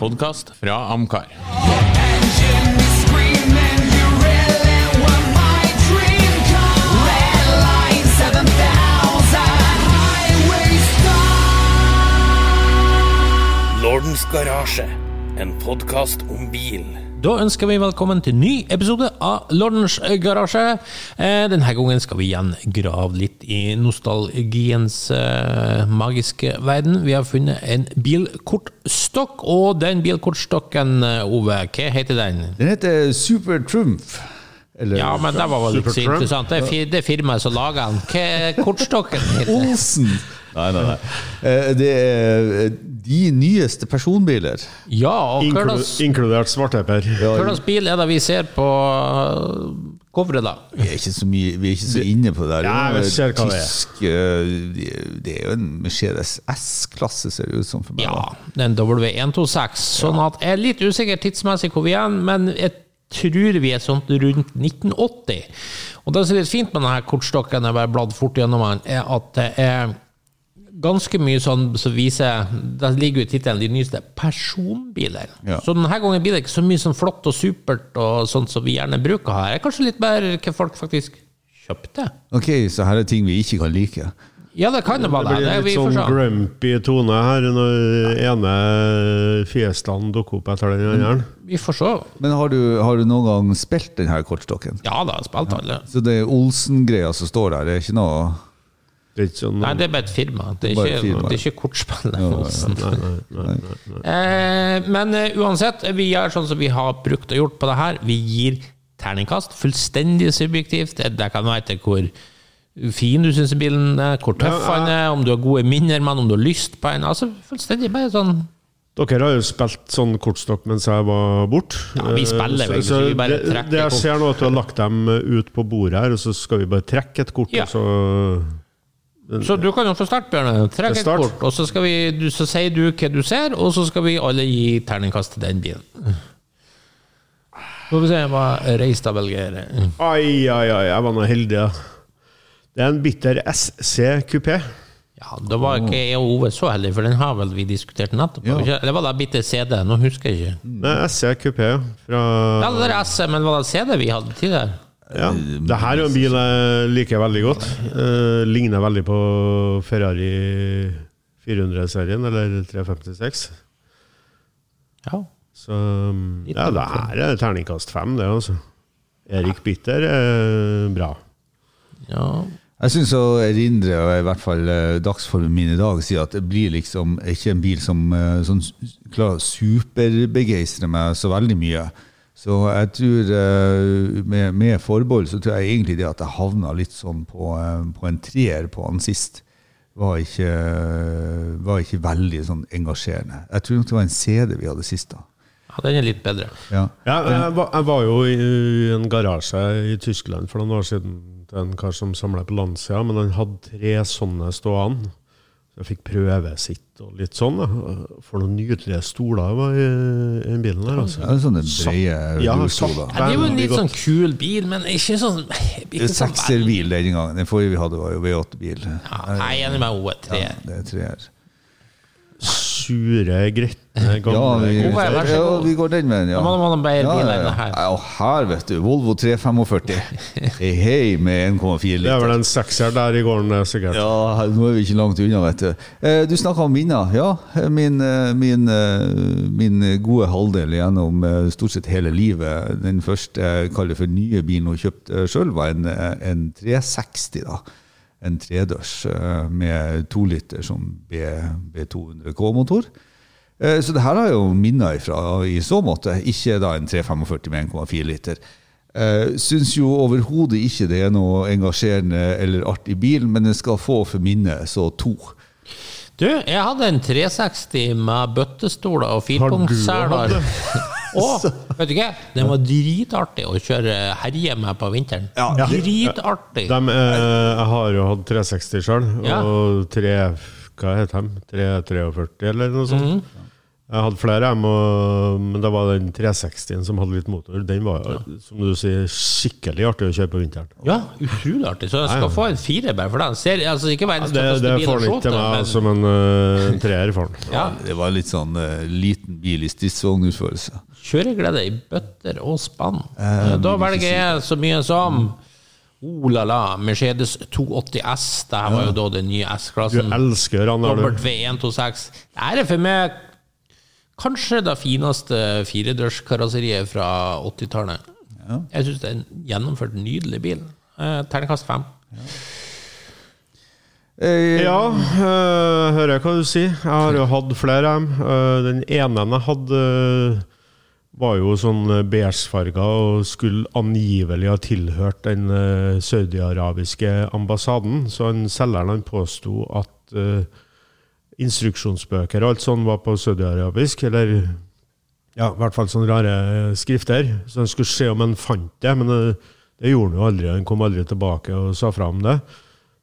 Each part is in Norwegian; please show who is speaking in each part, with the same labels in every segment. Speaker 1: Podkast fra Amcar.
Speaker 2: Lordens Garasje, en podkast om bil.
Speaker 1: Da ønsker vi velkommen til ny episode av Lordens garasje. Eh, Denne gangen skal vi igjen grave litt i nostalgiens eh, magiske verden. Vi har funnet en bilkortstokk, og den bilkortstokken, eh, Ove, hva heter den?
Speaker 3: Den heter Super Trumf. Eller
Speaker 1: Ja, men det var vel ikke så interessant. Det er fir- det er firmaet som lager den. Hva er kortstokken heter?
Speaker 3: Olsen! Nei, nei, nei. Eh, Det er eh, de nyeste personbiler.
Speaker 1: Ja, og hva
Speaker 4: Inklu
Speaker 1: slags-
Speaker 4: inkludert svarteper.
Speaker 1: hva slags bil er det vi ser på eh, coveret, da?
Speaker 3: Vi er ikke så, mye, vi er ikke så inne på det. her.
Speaker 4: Ja,
Speaker 3: Det er
Speaker 4: jeg ser hva det er.
Speaker 3: tysk, eh, Det er jo en Mercedes S-klasse, ser det ut som for meg. da.
Speaker 1: Ja, den W126. Sånn at jeg er litt usikker tidsmessig hvor vi er, men jeg tror vi er sånn rundt 1980. Og det som er litt fint med denne kortstokken, jeg bare bladd fort gjennom den, er at det er ganske mye sånn som viser Det ligger jo i tittelen de nyeste personbiler.
Speaker 3: Ja.
Speaker 1: Så denne gangen blir det ikke så mye sånn flott og supert og sånt som vi gjerne bruker her. Det er kanskje litt mer hva folk faktisk kjøpte.
Speaker 3: Ok, så her er ting vi ikke kan like.
Speaker 1: Ja, det kan det
Speaker 4: Det
Speaker 1: være.
Speaker 4: blir
Speaker 1: Det,
Speaker 4: en
Speaker 1: det,
Speaker 4: litt
Speaker 1: vi får
Speaker 4: sånn
Speaker 1: se.
Speaker 4: grumpy tone her når ene fiestaen dukker opp etter den andre.
Speaker 1: vi får se.
Speaker 3: Men har du, har du noen gang spilt denne kortstokken?
Speaker 1: Ja da, spilte alle.
Speaker 3: Så det er Olsen-greia som står der, det er ikke noe
Speaker 4: Det er ikke sånn
Speaker 1: Nei, det er bare et firma. Det er
Speaker 3: Bare
Speaker 1: ikke,
Speaker 3: et firma,
Speaker 1: det er ikke kortspillet. Olsen.
Speaker 4: Nei, nei, nei, nei.
Speaker 1: Eh, men eh, uansett, vi gjør sånn som vi har brukt og gjort på det her. Vi gir terningkast, fullstendig subjektivt. Eh, Det- Det kan være til hvor fin du syns bilen er, hvor tøff
Speaker 4: Ja,
Speaker 1: han er, om du har gode minner med den, om du har lyst på en. Altså, fullstendig bare sånn
Speaker 4: Dere har jo spilt sånn kortstokk mens jeg var borte. Eh,
Speaker 1: Ja, vi spiller egentlig, så vi bare
Speaker 4: det,
Speaker 1: trekker
Speaker 4: det jeg
Speaker 1: kort.
Speaker 4: ser nå, er at du har lagt dem ut på bordet her, og så skal vi bare trekke et kort,
Speaker 1: Ja.
Speaker 4: og så
Speaker 1: Så du kan jo få starte, Bjørne. Trekk et
Speaker 4: Start.
Speaker 1: kort, og så, skal vi, du, så sier du hva du ser, og så skal vi alle gi terningkast til den bilen. Skal vi se hva Reistad velger.
Speaker 4: Ai, ai, ai, jeg var nå heldig, ja. Det er en bitter SC kupé.
Speaker 1: Ja, da var ikke
Speaker 4: Mm.
Speaker 1: jeg og Ove så heldige, for den har vel vi diskutert nettopp?
Speaker 3: Ja.
Speaker 1: Ikke- Eller var det bitte CD? Nå husker jeg ikke.
Speaker 4: Nei, SC kupé, ja. Fra
Speaker 1: Ja, det der S, men var det CD vi hadde tidligere?
Speaker 4: Ja, det her er jo en bil jeg liker veldig godt. Eh, ligner veldig på Ferrari 400-serien, eller 356.
Speaker 1: Ja.
Speaker 4: Så mm, ja, det her er terningkast fem, det, altså. Erik Bitter er bra.
Speaker 1: ja.
Speaker 3: Jeg syns å erindre, og i hvert fall eh, dagsformen min i dag, sier at det blir liksom ikke en bil som eh, sånn, s- klarer å superbegeistre meg så veldig mye. Så jeg tror, eh, med, med forbehold, så tror jeg egentlig det at jeg havna litt sånn på, eh, på en treer på han sist. Var ikke, var ikke veldig sånn engasjerende. Jeg tror nok det var en CD vi hadde sist, da.
Speaker 1: ja, den er litt bedre.
Speaker 3: Ja.
Speaker 4: Ja, jeg, var, jeg var jo i en garasje i Tyskland for noen år siden til en kar som samla på Lancia, men han hadde tre sånne stående. Så jeg fikk prøvesitt og litt sånn. Da. For noen nydelige stoler det var i, i den bilen der. Altså.
Speaker 3: Det er sånne brede
Speaker 4: Ja,
Speaker 3: rullstoler.
Speaker 1: Ja,
Speaker 4: satt.
Speaker 1: det er jo en
Speaker 4: Veldig
Speaker 1: litt sånn kul bil, men ikke sånn ikke sånn veldig-
Speaker 3: Sekserbil denne gangen. Den forrige vi hadde, var jo V8-bil.
Speaker 1: Ja, jeg er enig med Ove. Tre.
Speaker 3: Ja, det er treer.
Speaker 4: Sure, gretne,
Speaker 3: Ja,
Speaker 4: gamle
Speaker 3: vi,
Speaker 4: gutter.
Speaker 1: Ove, vær så
Speaker 3: ja,
Speaker 1: god.
Speaker 3: vi går den veien, ja.
Speaker 1: Da må man ha en bedre bil enn det her.
Speaker 3: Ja, her, vet du. Volvo 345. Hei, hei, med 1,4
Speaker 4: Det er vel
Speaker 3: liter.
Speaker 4: en sekser der i gården, det er sikkert.
Speaker 3: Ja, her- nå er vi ikke langt unna, vet du. Eh, Du snakka om minner. Ja, min, eh, min, eh, min gode halvdel gjennom eh, stort sett hele livet. Den første jeg kaller for nye bilen hun kjøpte sjøl, var en, eh, en 360. da. En tredørs eh, med to liter som B, B200K-motor. Eh, Så det her har jeg jo minner ifra i så måte. Ikke da en 345 med 1,4 liter. Uh, Syns jo overhodet ikke det er noe engasjerende eller artig bil, men den skal få for minnet, så to.
Speaker 1: Du, jeg hadde en 360 med bøttestoler og
Speaker 4: Har
Speaker 1: firpunktsseler.
Speaker 4: du hatt det?
Speaker 1: Og vet du hva, den var dritartig å kjøre herje med på vinteren.
Speaker 3: Ja.
Speaker 1: Dritartig!
Speaker 4: Dem, eh, jeg har jo hatt 360 sjøl,
Speaker 1: Ja. Mhm.
Speaker 4: og tre Hva heter de? 343, eller noe sånt? Jeg hadde flere, jeg må- men det var den 360-en som hadde litt motor. Den var som du sier, skikkelig artig å kjøre på vinteren.
Speaker 1: Ja, utrolig artig. Så jeg skal få en fire bare for den. Ser, altså, ikke
Speaker 4: Ja,
Speaker 1: verdens
Speaker 4: det, det
Speaker 1: tøffeste bil å
Speaker 4: får han
Speaker 1: se
Speaker 4: ikke til meg,
Speaker 1: men-
Speaker 4: altså, men øh, en treer får han.
Speaker 1: ja,
Speaker 3: Det var litt sånn eh, liten bil i stridsvognutførelse.
Speaker 1: Kjøreglede i bøtter og spann.
Speaker 4: Eh,
Speaker 1: da velger jeg så mye som
Speaker 4: Mm.
Speaker 1: Oh la la, Mercedes 280 S. Det her var jo da den nye
Speaker 4: Du
Speaker 1: S-klassen.
Speaker 4: elsker han, har
Speaker 1: Robert
Speaker 4: du.
Speaker 1: V126. Det her er for meg kanskje det fineste firedørskarosseriet fra 80-tallet. Jeg syns det er en gjennomført nydelig bil. Eh, Terningkast fem.
Speaker 3: Eh,
Speaker 4: Ja, øh, hører jeg hva du sier. Jeg har jo hatt flere av dem. Øh, den ene jeg hadde, øh, var jo sånn øh, beigefarga og skulle angivelig ha tilhørt den øh, saudiarabiske ambassaden. Så han, selgeren han påsto at øh, instruksjonsbøker og alt sånt var på saudiarabisk, eller ja, i hvert fall sånne rare eh, skrifter. Så han skulle se om han fant det, men eh, det gjorde han jo aldri. Han kom aldri tilbake og sa fra om det.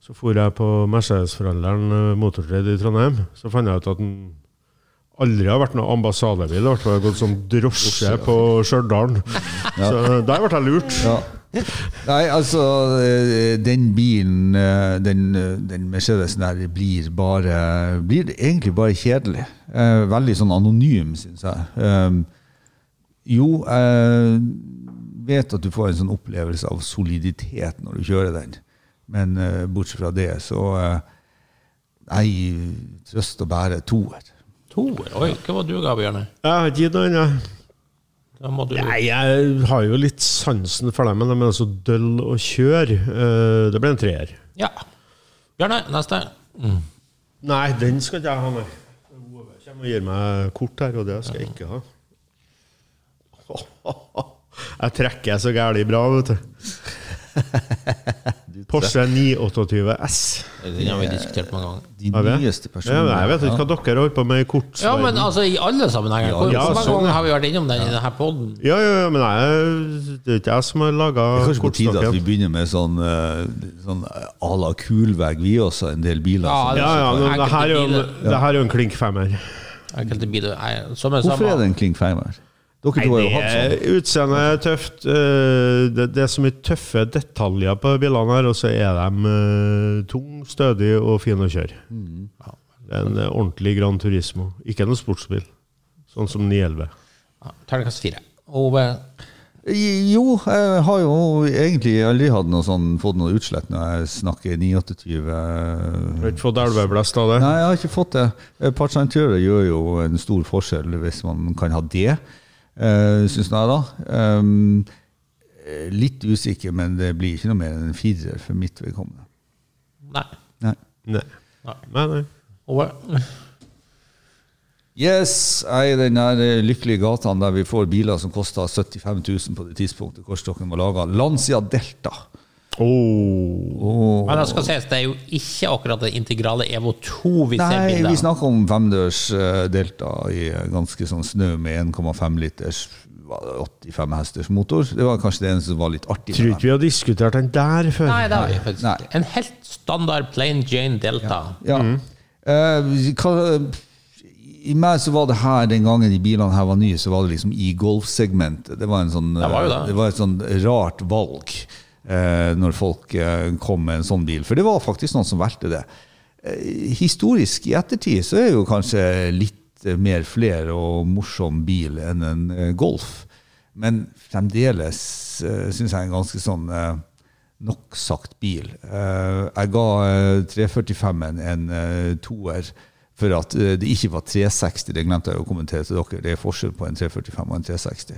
Speaker 4: Så for jeg på Mercedes-forhandleren eh, Motortrade i Trondheim. Så fant jeg ut at han aldri har vært noen ambassadebil. Det har i hvert fall gått som drosje på Stjørdal. Så der ble jeg lurt.
Speaker 3: Ja. Nei, altså eh, Den bilen, eh, den, eh, den Mercedesen der, blir bare Blir egentlig bare kjedelig. Eh, Veldig sånn anonym, syns jeg. Um, Jo, jeg vet at du får en sånn opplevelse av soliditet når du kjører den, men eh, bortsett fra det, så eh, Nei, trøst og bære toer.
Speaker 1: Toer. Oi, hva var du, Gabjørne?
Speaker 4: Jeg har ikke gitt noe annet.
Speaker 1: Da må du
Speaker 4: Nei, jeg har jo litt sansen for dem, men de er så døll å kjøre. Eh, Det ble en treer.
Speaker 1: Ja. Bjørne, neste.
Speaker 4: Nei, den skal ikke jeg ha, nei. Ove kommer og gir meg kort her, og det skal jeg ikke ha. Jeg trekker så gærlig bra, vet du. Porsche 928 S.
Speaker 1: Den har vi diskutert mange ganger.
Speaker 3: De
Speaker 4: Har vi?
Speaker 3: nyeste
Speaker 4: Ja,
Speaker 3: personene.
Speaker 4: men jeg vet ikke hva dere holder på med i kort.
Speaker 1: Ja, men altså, i alle sammenhenger. Hvor
Speaker 4: ja,
Speaker 1: hvor mange
Speaker 4: sånn,
Speaker 1: ganger
Speaker 4: ja.
Speaker 1: har vi vært innom den i denne poden?
Speaker 4: ja, ja, ja, men jeg, det er ikke jeg som har laga
Speaker 3: Det er kanskje på tide at vi
Speaker 4: kortstokken.
Speaker 3: begynner med sånn, eh, sånn à la kulvegg, vi også, en del biler. Sånn.
Speaker 1: Ja,
Speaker 3: som-
Speaker 4: Ja, ja, men det her er jo en, det her er jo en klink femmer.
Speaker 1: Enkelte biler er- som er
Speaker 3: Hvorfor er det
Speaker 1: samme.
Speaker 3: en klingfeimer? Dere to har
Speaker 4: Nei,
Speaker 3: jo hatt
Speaker 4: det
Speaker 3: sånn.
Speaker 4: er- eh, Utseendet er tøft. eh, Det, det er så mye tøffe detaljer på bilene her, og så er de eh, tung, stødig og fin å kjøre. Ja, Det er en eh, ordentlig Gran Turismo. Ikke noen sportsbil, sånn som 911.
Speaker 1: Ja, Terningkast fire. Ove,
Speaker 3: I- Jo, jeg har jo egentlig aldri hatt noe sånn, fått noe utslett når jeg snakker 928.
Speaker 4: Har ikke fått elveblest av det.
Speaker 3: Nei, jeg har ikke fått det. Partsentører gjør jo en stor forskjell hvis man kan ha det, uh, syns jeg da. Um, litt usikker, men det blir ikke noe mer enn en firer for mitt vedkommende.
Speaker 1: nei.
Speaker 3: Nei.
Speaker 4: Nei.
Speaker 1: Nei.
Speaker 4: Nei, nei.
Speaker 1: Ove.
Speaker 3: Yes, jeg er i den her eh, lykkelige gataen der vi får biler som koster 75 000 på det tidspunktet korstokken var laga. Lancia Delta.
Speaker 4: Åh.
Speaker 1: Men det skal sies, det er jo ikke akkurat den integrale Evo 2 vi ser
Speaker 3: Nei, vi
Speaker 1: bildet av.
Speaker 3: snakker om femdørs eh, Delta i eh, ganske sånn snø med 1,5 liters var det 85 hesters motor. Det var kanskje det eneste som var litt artig.
Speaker 4: Tror
Speaker 3: med
Speaker 4: ikke vi har diskutert den der før.
Speaker 1: Nei, det har vi faktisk
Speaker 3: Nei.
Speaker 1: ikke. En helt standard plain Jane Delta.
Speaker 3: den. Ja. Eh, hva, I meg så var det her den gangen de bilene her var nye, så var det liksom i golfsegmentet. Det var en sånn
Speaker 1: Det var jo det.
Speaker 3: det var et sånn rart valg eh, når folk eh, kom med en sånn bil. For det var faktisk noen som valgte det. Eh, historisk i ettertid så er jo kanskje litt eh, mer fler og morsom bil enn en eh, Golf. Men fremdeles eh, syns jeg en ganske sånn eh, nok sagt bil. Eh, jeg ga eh, 345-en en eh, toer. For at eh, det ikke var 360, det glemte jeg å kommentere til dere. Det er forskjell på en 345 og en 360.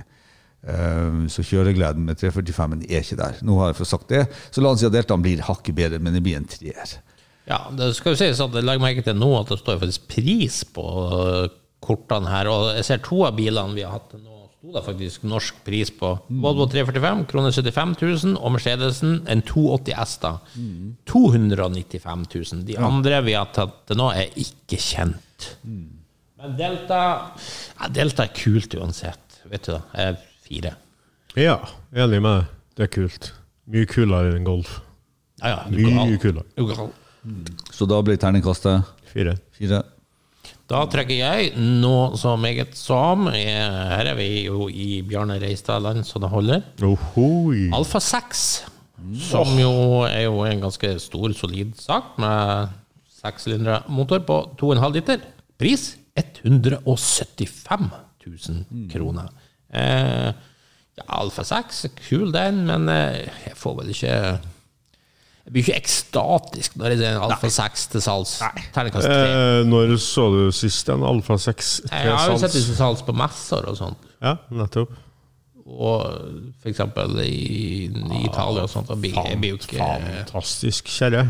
Speaker 3: Ehm, Så kjøregleden med 345-en er ikke der. Nå har jeg fått sagt det. Så la oss si at Deltaen blir hakket bedre, men det blir en treer.
Speaker 1: Ja, det skal jo sies at legg merke til nå at det står faktisk pris på øh, kortene her. Og jeg ser to av bilene vi har hatt til nå, sto det faktisk norsk pris på. Volvo 345, kroner 75 000, og Mercedesen, en 280 S, da. 295 000. De andre vi har tatt til nå, er ikke kjent.
Speaker 4: Mm.
Speaker 1: Men Delta ja, Delta er kult uansett. Vet du da, jeg er fire.
Speaker 4: Ja, enig med deg. Det er kult. Mye kulere enn golf.
Speaker 1: Ja, ja, du
Speaker 4: Mye
Speaker 1: gal.
Speaker 4: kulere.
Speaker 1: Du gal.
Speaker 3: Så da ble terningkastet
Speaker 4: Fire.
Speaker 3: fire.
Speaker 1: Da trekker jeg noe så meget som eh, Her er vi jo i Bjarne Reistad-land, så det holder.
Speaker 4: Ohoi.
Speaker 1: Alfa 6, som jo er jo en ganske stor, solid sak med sekssylindra motor på 2,5 liter. Pris 175 000 kroner. Eh, ja, Alfa 6, kul den, men eh, jeg får vel ikke jeg blir ikke ekstatisk når jeg ser en Alfa 6 til salgs. Terningkast 3.
Speaker 4: Eh, når så du sist en Alfa 6
Speaker 1: Jeg har jo
Speaker 4: til
Speaker 1: sett det
Speaker 4: salgs?
Speaker 1: til salgs på messer og sånt.
Speaker 4: Ja, nettopp.
Speaker 1: Og for eksempel i, i
Speaker 4: Ah,
Speaker 1: Italia og sånt. Og blir, jeg blir jo ikke
Speaker 4: Fantastisk kjerre.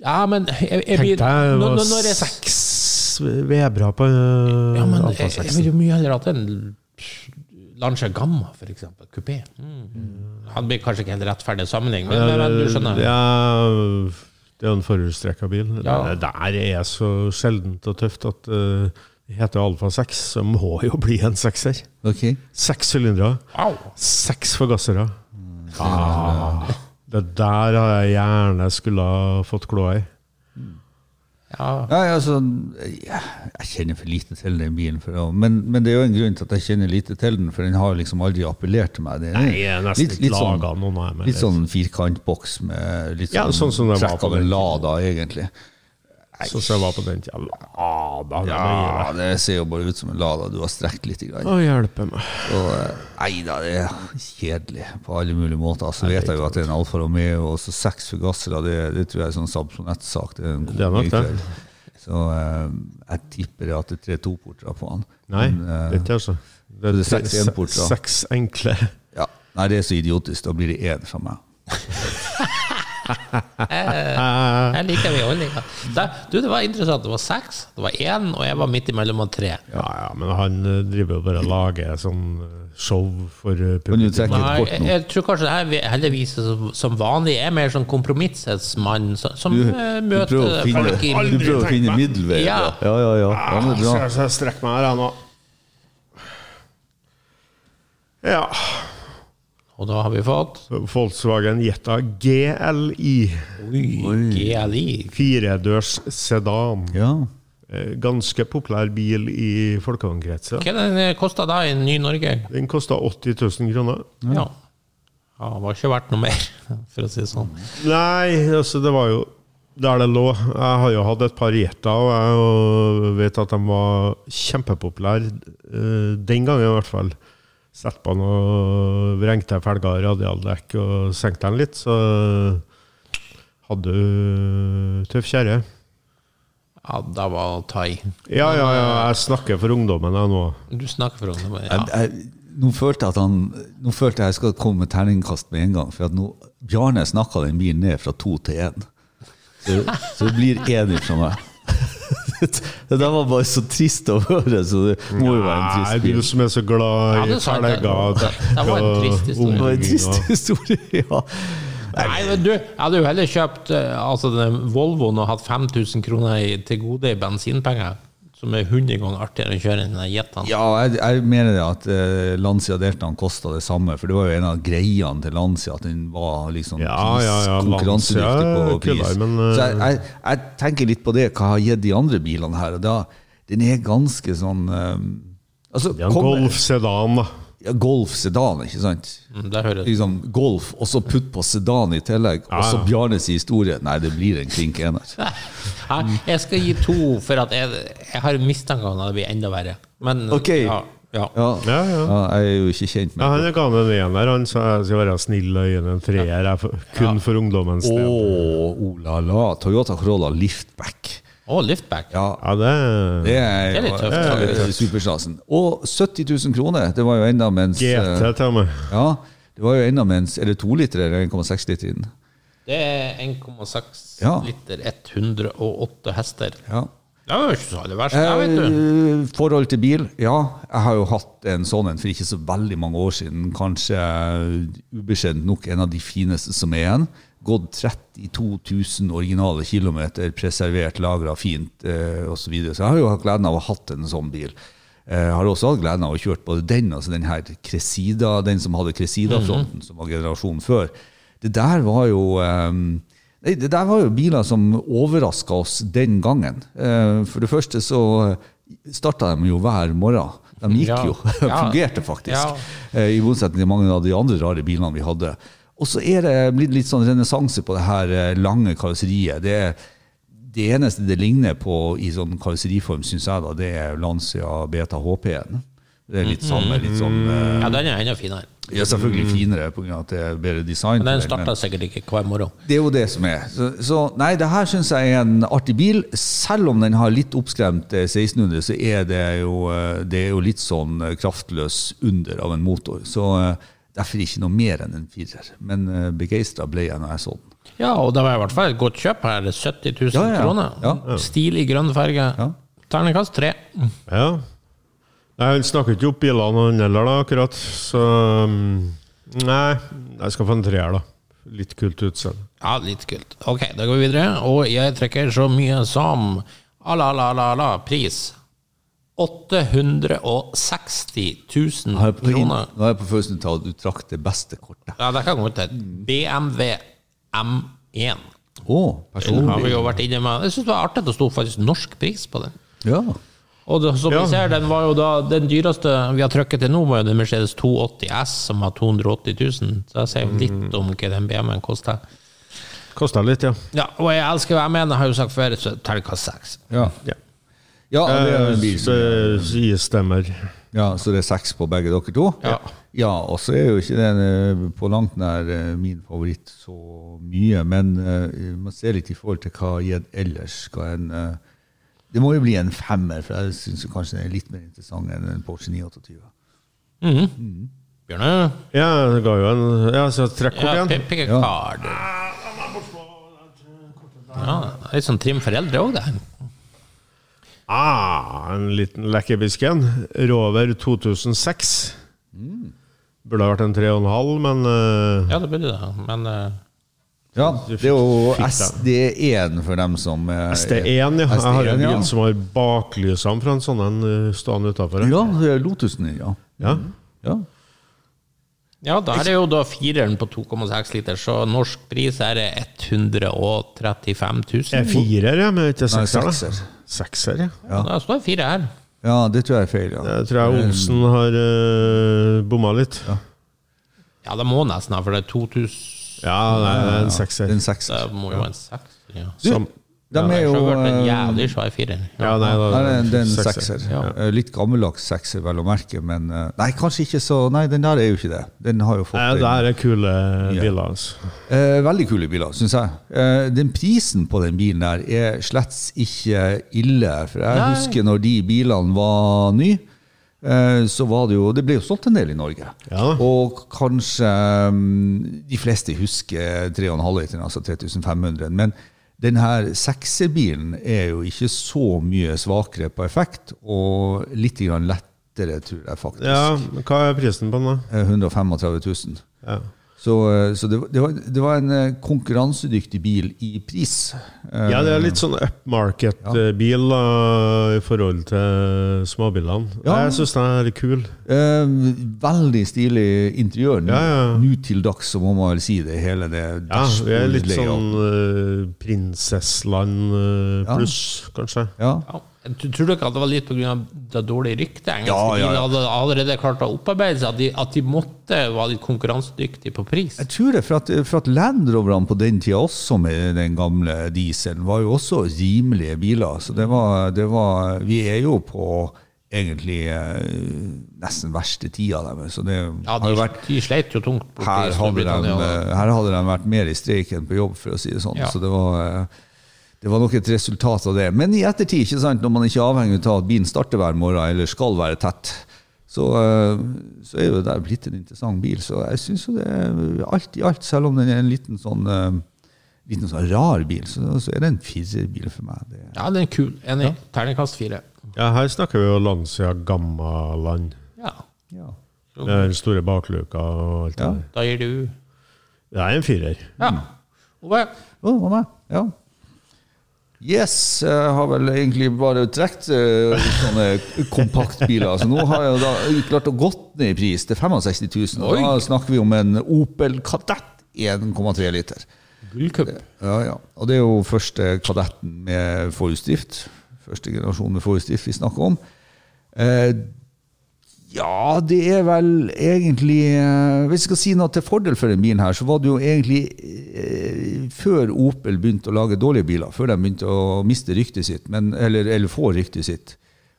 Speaker 1: Ja, men jeg, jeg Eh, blir
Speaker 4: Tenk
Speaker 1: når,
Speaker 4: deg hva
Speaker 1: når, når jeg,
Speaker 4: seks vedbra på eh,
Speaker 1: ja, men,
Speaker 4: Alfa
Speaker 1: jeg, jeg
Speaker 4: 6.
Speaker 1: vil jo mye heller hatt en Lancia Gamma, for eksempel. Kupé. Mm. Han blir kanskje ikke helt rettferdig sammenligning, men, men, men du skjønner.
Speaker 4: Eh, Ja, det er jo en forhjulstrekka bil.
Speaker 1: Ja.
Speaker 4: Det der er så sjeldent og tøft at eh, det heter Alfa 6, så må jo bli en sekser.
Speaker 3: Ok.
Speaker 4: Seks sylindere,
Speaker 1: Wow.
Speaker 4: seks forgassere.
Speaker 1: Mm.
Speaker 4: Ah. Det der har jeg gjerne skulle ha fått kloa i.
Speaker 1: Ja.
Speaker 3: Nei, altså, jeg, jeg kjenner for lite til den bilen. For, å- men, men det er jo en grunn til at jeg kjenner lite til den, for den har liksom aldri appellert til meg. Det er
Speaker 4: Nei, jeg er nesten ikke
Speaker 3: sånn-
Speaker 4: laget noen av
Speaker 3: Litt
Speaker 4: dem, eller.
Speaker 3: sånn firkantboks med litt
Speaker 4: Ja, sånn som det var
Speaker 3: trekk
Speaker 4: på
Speaker 3: av en
Speaker 4: den
Speaker 3: Lada, egentlig.
Speaker 4: Sånn som jeg var på den tida. Ah, da, det må jeg gi
Speaker 3: Ja,
Speaker 4: deg.
Speaker 3: det ser jo bare ut som en Lada. Du har strekt litt. Grann.
Speaker 4: Å, hjelpe meg.
Speaker 3: Og, eh, nei da, det er kjedelig på alle mulige måter. Så vet jeg jo at det er en Alfa Romeo, og så seks forgassere, det, det tror jeg er sånn Samsonett-sak. Det er en god
Speaker 4: Det er nok det.
Speaker 3: bilkveld. Så eh, jeg tipper at det er tre-to-portere på han.
Speaker 4: Nei,
Speaker 3: Men, eh,
Speaker 4: det er ikke altså. Det
Speaker 3: det er seks enporter.
Speaker 4: Seks enkle.
Speaker 3: Ja. Nei, det er så idiotisk. Da blir det én fra meg.
Speaker 1: Jeg liker beholdninga. Du, det var interessant. Det var seks, det var én, og jeg var midt imellom og tre.
Speaker 4: Ja, ja, men han eh, driver jo bare og lager sånn eh, show for eh,
Speaker 3: Kan du
Speaker 4: publikum.
Speaker 3: trekke et
Speaker 1: Nei,
Speaker 3: kort
Speaker 1: jeg,
Speaker 3: nå?
Speaker 1: jeg tror kanskje det her vi- heller viser som, som vanlig. Jeg er mer sånn kompromissets mann som, som
Speaker 3: Du,
Speaker 1: eh,
Speaker 3: du
Speaker 1: møter
Speaker 3: prøver å finne,
Speaker 1: folk i
Speaker 3: du prøver å finne middelvei. Ja,
Speaker 1: Ja.
Speaker 3: ja, ja. ja. ja men det er
Speaker 4: Så
Speaker 3: bra.
Speaker 4: jeg- så jeg strekker meg her, jeg nå. Ja.
Speaker 1: Og da har vi fått
Speaker 4: Volkswagen Jetta GLI.
Speaker 1: GLI.
Speaker 4: Firedørs sedan.
Speaker 3: Ja.
Speaker 4: Eh, Ganske populær bil i folkevognkretser.
Speaker 1: Hva den eh, kosta da i Ny-Norge?
Speaker 4: Den kosta 80 000 kroner.
Speaker 1: Ja. ja. Det var ikke verdt noe mer, for å si det sånn.
Speaker 4: Nei, altså det var jo der det lå. Jeg har jo hatt et par Jetta, og jeg og vet at de var kjempepopulære. eh, Den gangen i hvert fall. Sett på den og vrengte jeg felger, radialdekk og senkte den litt, så hadde du tøff kjerre.
Speaker 1: Ja, da var Tai.
Speaker 4: Ja, ja, ja, jeg snakker for ungdommen jeg nå.
Speaker 1: Du snakker for ungdommen.
Speaker 3: Jeg,
Speaker 1: Ja.
Speaker 3: jeg, nå følte jeg at han Nå følte jeg jeg skal komme med terningkast med en gang. For at nå, Bjarne snakka den bilen ned fra to til én. Så, så det blir én fra meg. Det der var bare så trist å høre, så det må jo være en
Speaker 4: Nei,
Speaker 3: trist
Speaker 4: du
Speaker 3: bil.
Speaker 4: som er så glad
Speaker 1: Ja,
Speaker 4: i
Speaker 1: det er sant, det.
Speaker 4: felger,
Speaker 1: Det- det var en trist
Speaker 4: dekk
Speaker 1: historie.
Speaker 3: Det var
Speaker 4: og
Speaker 3: en trist
Speaker 4: omgivninger.
Speaker 3: historie, ja.
Speaker 1: Nei, men du, jeg hadde jo heller kjøpt eh, altså, den Volvoen og hatt 5000 kroner i, til gode i bensinpenger, som er 100 ganger artigere å kjøre enn den Jettaen.
Speaker 3: Ja, jeg, jeg mener det at eh, Lancia Deltaen kosta det samme, for det var jo en av greiene til Lancia at den var liksom
Speaker 4: Ja, ja, ja,
Speaker 3: pris- konkurransedyktig
Speaker 4: Lancia
Speaker 3: på
Speaker 4: er
Speaker 3: pris.
Speaker 4: kulere, men, eh,
Speaker 3: Så jeg, jeg, jeg tenker litt på det, hva jeg har gitt de andre bilene her. og Da, den er ganske sånn eh, altså,
Speaker 4: Det er en
Speaker 3: kom-
Speaker 4: Golf sedan, da.
Speaker 3: Ja, Golf sedan, ikke sant?
Speaker 1: Mm, Det høres
Speaker 3: Liksom Golf, og så putt på sedan i tillegg, og så
Speaker 4: ja.
Speaker 3: Bjarnes historie. Nei, det blir en klink ener.
Speaker 1: Hæ? Jeg skal gi to, for at jeg, jeg har en mistanke om at det blir enda verre. Men
Speaker 3: Ok.
Speaker 1: ja, ja.
Speaker 3: Ja,
Speaker 4: Ja, ja.
Speaker 3: jeg er jo ikke kjent
Speaker 4: Ja,
Speaker 3: med
Speaker 4: han ga meg en ener, han sa jeg skal være snill og gi ham en treer. Jeg er for, kun for ungdommens
Speaker 3: Å,
Speaker 4: del.
Speaker 3: oh, la la. Toyota Corolla Liftback.
Speaker 1: Og liftback.
Speaker 3: Ja,
Speaker 4: Ja, det
Speaker 3: Det
Speaker 4: er
Speaker 3: er,
Speaker 1: Det er litt tøft, da.
Speaker 3: jo tøft. Superklassen. Og 70 000 kroner, det var jo enda mens
Speaker 4: GT
Speaker 3: eh,
Speaker 4: til meg.
Speaker 3: Ja, det var jo enda mens Er det to liter eller 1,6 liter i den?
Speaker 1: Det er 1,6
Speaker 3: Ja.
Speaker 1: liter, 108 hester.
Speaker 3: Ja.
Speaker 1: Det var jo ikke så aller verst, det, vet du.
Speaker 3: Eh, forhold til bil? Ja, jeg har jo hatt en sånn en for ikke så veldig mange år siden. Kanskje eh, ubeskjedent nok en av de fineste som er igjen. Gått 32 000 originale kilometer, preservert, lagra fint eh, osv. Så, videre. så jeg har jo hatt gleden av å ha hatt en sånn bil. Jeg har også hatt gleden av å kjøre både den altså den her Cressida, den som hadde
Speaker 1: Mhm.
Speaker 3: Cressida-fronten, som var generasjonen før. Det der var jo eh, Nei, Det der var jo biler som overraska oss den gangen. Eh, For det første så starta de jo hver morgen. De gikk
Speaker 1: Ja.
Speaker 3: jo. De
Speaker 1: Ja.
Speaker 3: fungerte faktisk.
Speaker 1: Ja.
Speaker 3: Eh, I motsetning til mange av de andre rare bilene vi hadde. Og så er det blitt litt sånn renessanse på det her eh, lange karosseriet. Det, er- det eneste det ligner på i sånn karosseriform, syns jeg, da, det er Lancia Beta HP-en. Det er litt samme, litt sånn eh,
Speaker 1: Ja, den er enda finere.
Speaker 3: Ja, selvfølgelig finere pga. at det er bedre design. på
Speaker 1: Men den
Speaker 3: den,
Speaker 1: starter
Speaker 3: men-
Speaker 1: sikkert ikke hver morgen.
Speaker 3: det er jo det som er. Så, så nei, det her syns jeg er en artig bil. Selv om den har litt oppskremt eh, 1600, så er det jo, eh, det er jo litt sånn eh, kraftløs under av en motor. Så eh, derfor ikke noe mer enn en firer. Men begeistra ble jeg når jeg så den.
Speaker 1: Ja, og det var i hvert fall et godt kjøp her. 70 000
Speaker 3: Ja, ja, ja.
Speaker 1: kroner.
Speaker 3: Ja.
Speaker 1: Stilig grønn farge.
Speaker 3: Ja.
Speaker 1: Ternekast tre.
Speaker 4: Ja. Nei, han snakker ikke opp bilene han heller, da, akkurat. Så mm, Nei, jeg skal få en treer, da. Litt kult utseende.
Speaker 1: Ja, litt kult. Ok, da går vi videre. Og jeg trekker så mye som ala, la, la, la, pris 860
Speaker 3: Nå
Speaker 1: 000
Speaker 3: er jeg på, inn,
Speaker 1: kroner.
Speaker 3: nå er jeg på følelsen av at du trakk det beste kortet.
Speaker 1: Ja, det kan komme til BMW M1. Den
Speaker 3: Å,
Speaker 1: har vi
Speaker 3: personlig.
Speaker 1: jo vært inne med. Jeg syns det var artig at det sto faktisk norsk pris på den.
Speaker 3: Ja.
Speaker 1: Og det, som
Speaker 4: Ja.
Speaker 1: vi ser, den var jo da den dyreste vi har trykket til nå, var jo den Mercedes 280 S, som har 280 000. Så jeg sier litt
Speaker 3: Mm.
Speaker 1: om hva den BMW-en koster.
Speaker 4: Kosta litt, ja.
Speaker 1: Ja, og jeg elsker hva jeg mener, har jeg jo sagt før, så terningkast seks.
Speaker 3: Ja.
Speaker 4: ja.
Speaker 3: ja, det er
Speaker 1: Eh,
Speaker 3: en bil.
Speaker 4: Så, jeg stemmer.
Speaker 3: Ja, så det er seks på begge dere to?
Speaker 1: Ja.
Speaker 3: ja og så er jo ikke den eh, på langt nær eh, min favoritt så mye, men eh, man ser litt i forhold til hva gitt ellers skal en eh, Det må jo bli en femmer, for jeg syns kanskje den er litt mer interessant enn en Porsche 928.
Speaker 1: Bjørne?
Speaker 4: Ja, det ga jo en Ja, så trekk opp
Speaker 1: Ja,
Speaker 4: igjen.
Speaker 1: pi- pick a card. Ja, det er litt sånn trim foreldre òg, det.
Speaker 4: Ah, en liten lekkerbisk en. Rover 2006.
Speaker 3: Mm.
Speaker 4: Burde ha vært en 3,5, men eh,
Speaker 1: Ja, det burde det, men eh,
Speaker 3: Ja, det er jo
Speaker 4: fikk
Speaker 3: SD1 for dem som eh,
Speaker 4: ST1, ja. Jeg har en
Speaker 3: SD1, ja.
Speaker 4: bil som har baklysene fra en sånn en eh, stående utafor.
Speaker 3: Ja, det er Lotusen, ja.
Speaker 4: Ja.
Speaker 3: ja.
Speaker 1: Ja, da er det jo da fireren på 2,6 liter, så norsk pris er det 135
Speaker 4: Jeg er
Speaker 1: 000.
Speaker 4: firer, jeg, men ikke sekser. da.
Speaker 3: sekser.
Speaker 4: Sekser, ja.
Speaker 1: Da står det fire her.
Speaker 3: Ja, det tror jeg er feil, ja.
Speaker 4: Jeg tror jeg Olsen har eh, bomma litt. Ja,
Speaker 1: Ja, det må nesten ha, for det er 2000
Speaker 4: nei, det er en sekser.
Speaker 3: Det er en sekser.
Speaker 1: Det må jo være en seks. Ja.
Speaker 3: Du,
Speaker 4: Som-
Speaker 3: de er
Speaker 1: Jeg
Speaker 3: jo
Speaker 1: har vært en
Speaker 3: eh,
Speaker 1: jævlig svær firer.
Speaker 4: Ja, nei, da,
Speaker 3: Nei, det er en- det er en sekser. Eh, Litt gammeldags sekser, vel å merke, men eh, Nei, kanskje ikke så Nei, den der er jo ikke det. Den har jo fått
Speaker 4: Nei,
Speaker 3: en-
Speaker 4: det her er kule biler. Altså.
Speaker 3: Eh, Veldig kule biler, syns jeg. Eh, den prisen på den bilen der er slett ikke ille. For jeg husker når de bilene var nye, eh, så var det jo Det ble jo solgt en del i Norge.
Speaker 4: Ja.
Speaker 3: Og kanskje mm, de fleste husker 3,5 literen, altså 3500. Men den her sekserbilen er jo ikke så mye svakere på effekt, og litt grann lettere, tror jeg faktisk.
Speaker 4: Ja, hva er prisen på den, da?
Speaker 3: Eh, 135 000.
Speaker 4: Ja.
Speaker 3: Så, eh, så det, var- det, var, det var en eh, konkurransedyktig bil i pris. Eh,
Speaker 4: Ja, det er litt sånn upmarket-bil da, i forhold til småbilene.
Speaker 3: Ja.
Speaker 4: Jeg syns den er kul.
Speaker 3: eh, veldig stilig interiør. Nå,
Speaker 4: Ja, ja.
Speaker 3: nå til dags, så må man vel si det. Hele det
Speaker 4: Ja, vi er litt
Speaker 3: dashbordlayout.
Speaker 4: sånn eh, prinsessland eh,
Speaker 3: Ja.
Speaker 4: pluss, kanskje.
Speaker 3: ja.
Speaker 1: Ja. Du tror du ikke at det var litt pga. det dårlige ryktet? Engelske
Speaker 3: Ja, ja,
Speaker 1: biler
Speaker 3: ja.
Speaker 1: hadde allerede klart å opparbeide seg at de, at de måtte være litt konkurransedyktige på pris.
Speaker 3: Jeg tror det, for at, for at Land Roverne på den tida også, med den gamle dieselen, var jo også rimelige biler. Så det var, det var Vi er jo på egentlig eh, nesten verste tida deres. Så det
Speaker 1: Ja,
Speaker 3: har
Speaker 1: de,
Speaker 3: jo vært
Speaker 1: de sleit jo tungt borte
Speaker 3: her
Speaker 1: i
Speaker 3: hadde, de,
Speaker 1: Storbritannia. da.
Speaker 3: her hadde de vært mer i streik enn på jobb, for å si det sånn.
Speaker 1: Ja.
Speaker 3: Så det var, eh, det var nok et resultat av det. Men i ettertid, ikke sant, når man ikke er avhengig av at bilen starter hver morgen, eller skal være tett, så, eh, så er jo det blitt en interessant bil. Så jeg syns jo det er alt i alt, selv om den er en liten sånn eh, Liten sånn rar bil, så, så er det en firerbil for meg. Det,
Speaker 1: Ja, den er kul. Enig. Terningkast fire.
Speaker 4: Ja, her snakker vi jo Lancia Gammaland.
Speaker 1: Ja.
Speaker 3: ja.
Speaker 4: Med den store bakluka og alt det
Speaker 3: Ja.
Speaker 4: der.
Speaker 1: Da gir du
Speaker 4: Det er en firer.
Speaker 1: Ja.
Speaker 3: Mm.
Speaker 1: Ove?
Speaker 3: Å, hva med? Ja. Yes, jeg har vel egentlig bare trukket eh, sånne kompaktbiler. Så nå har jeg jo da klart å gått ned i pris til 65 000. Og da snakker vi om en Opel Kadett 1,3 liter.
Speaker 1: Gullcup.
Speaker 3: Ja, ja. Og det er jo første kadetten med forhjulsdrift. Første generasjon med forhjulsdrift vi snakker om. Eh, ja, det er vel egentlig eh, Hvis jeg skal si noe til fordel for den bilen her, så var det jo egentlig eh, før Opel begynte å lage dårlige biler, før de begynte å miste ryktet sitt, men, eller, eller få ryktet sitt,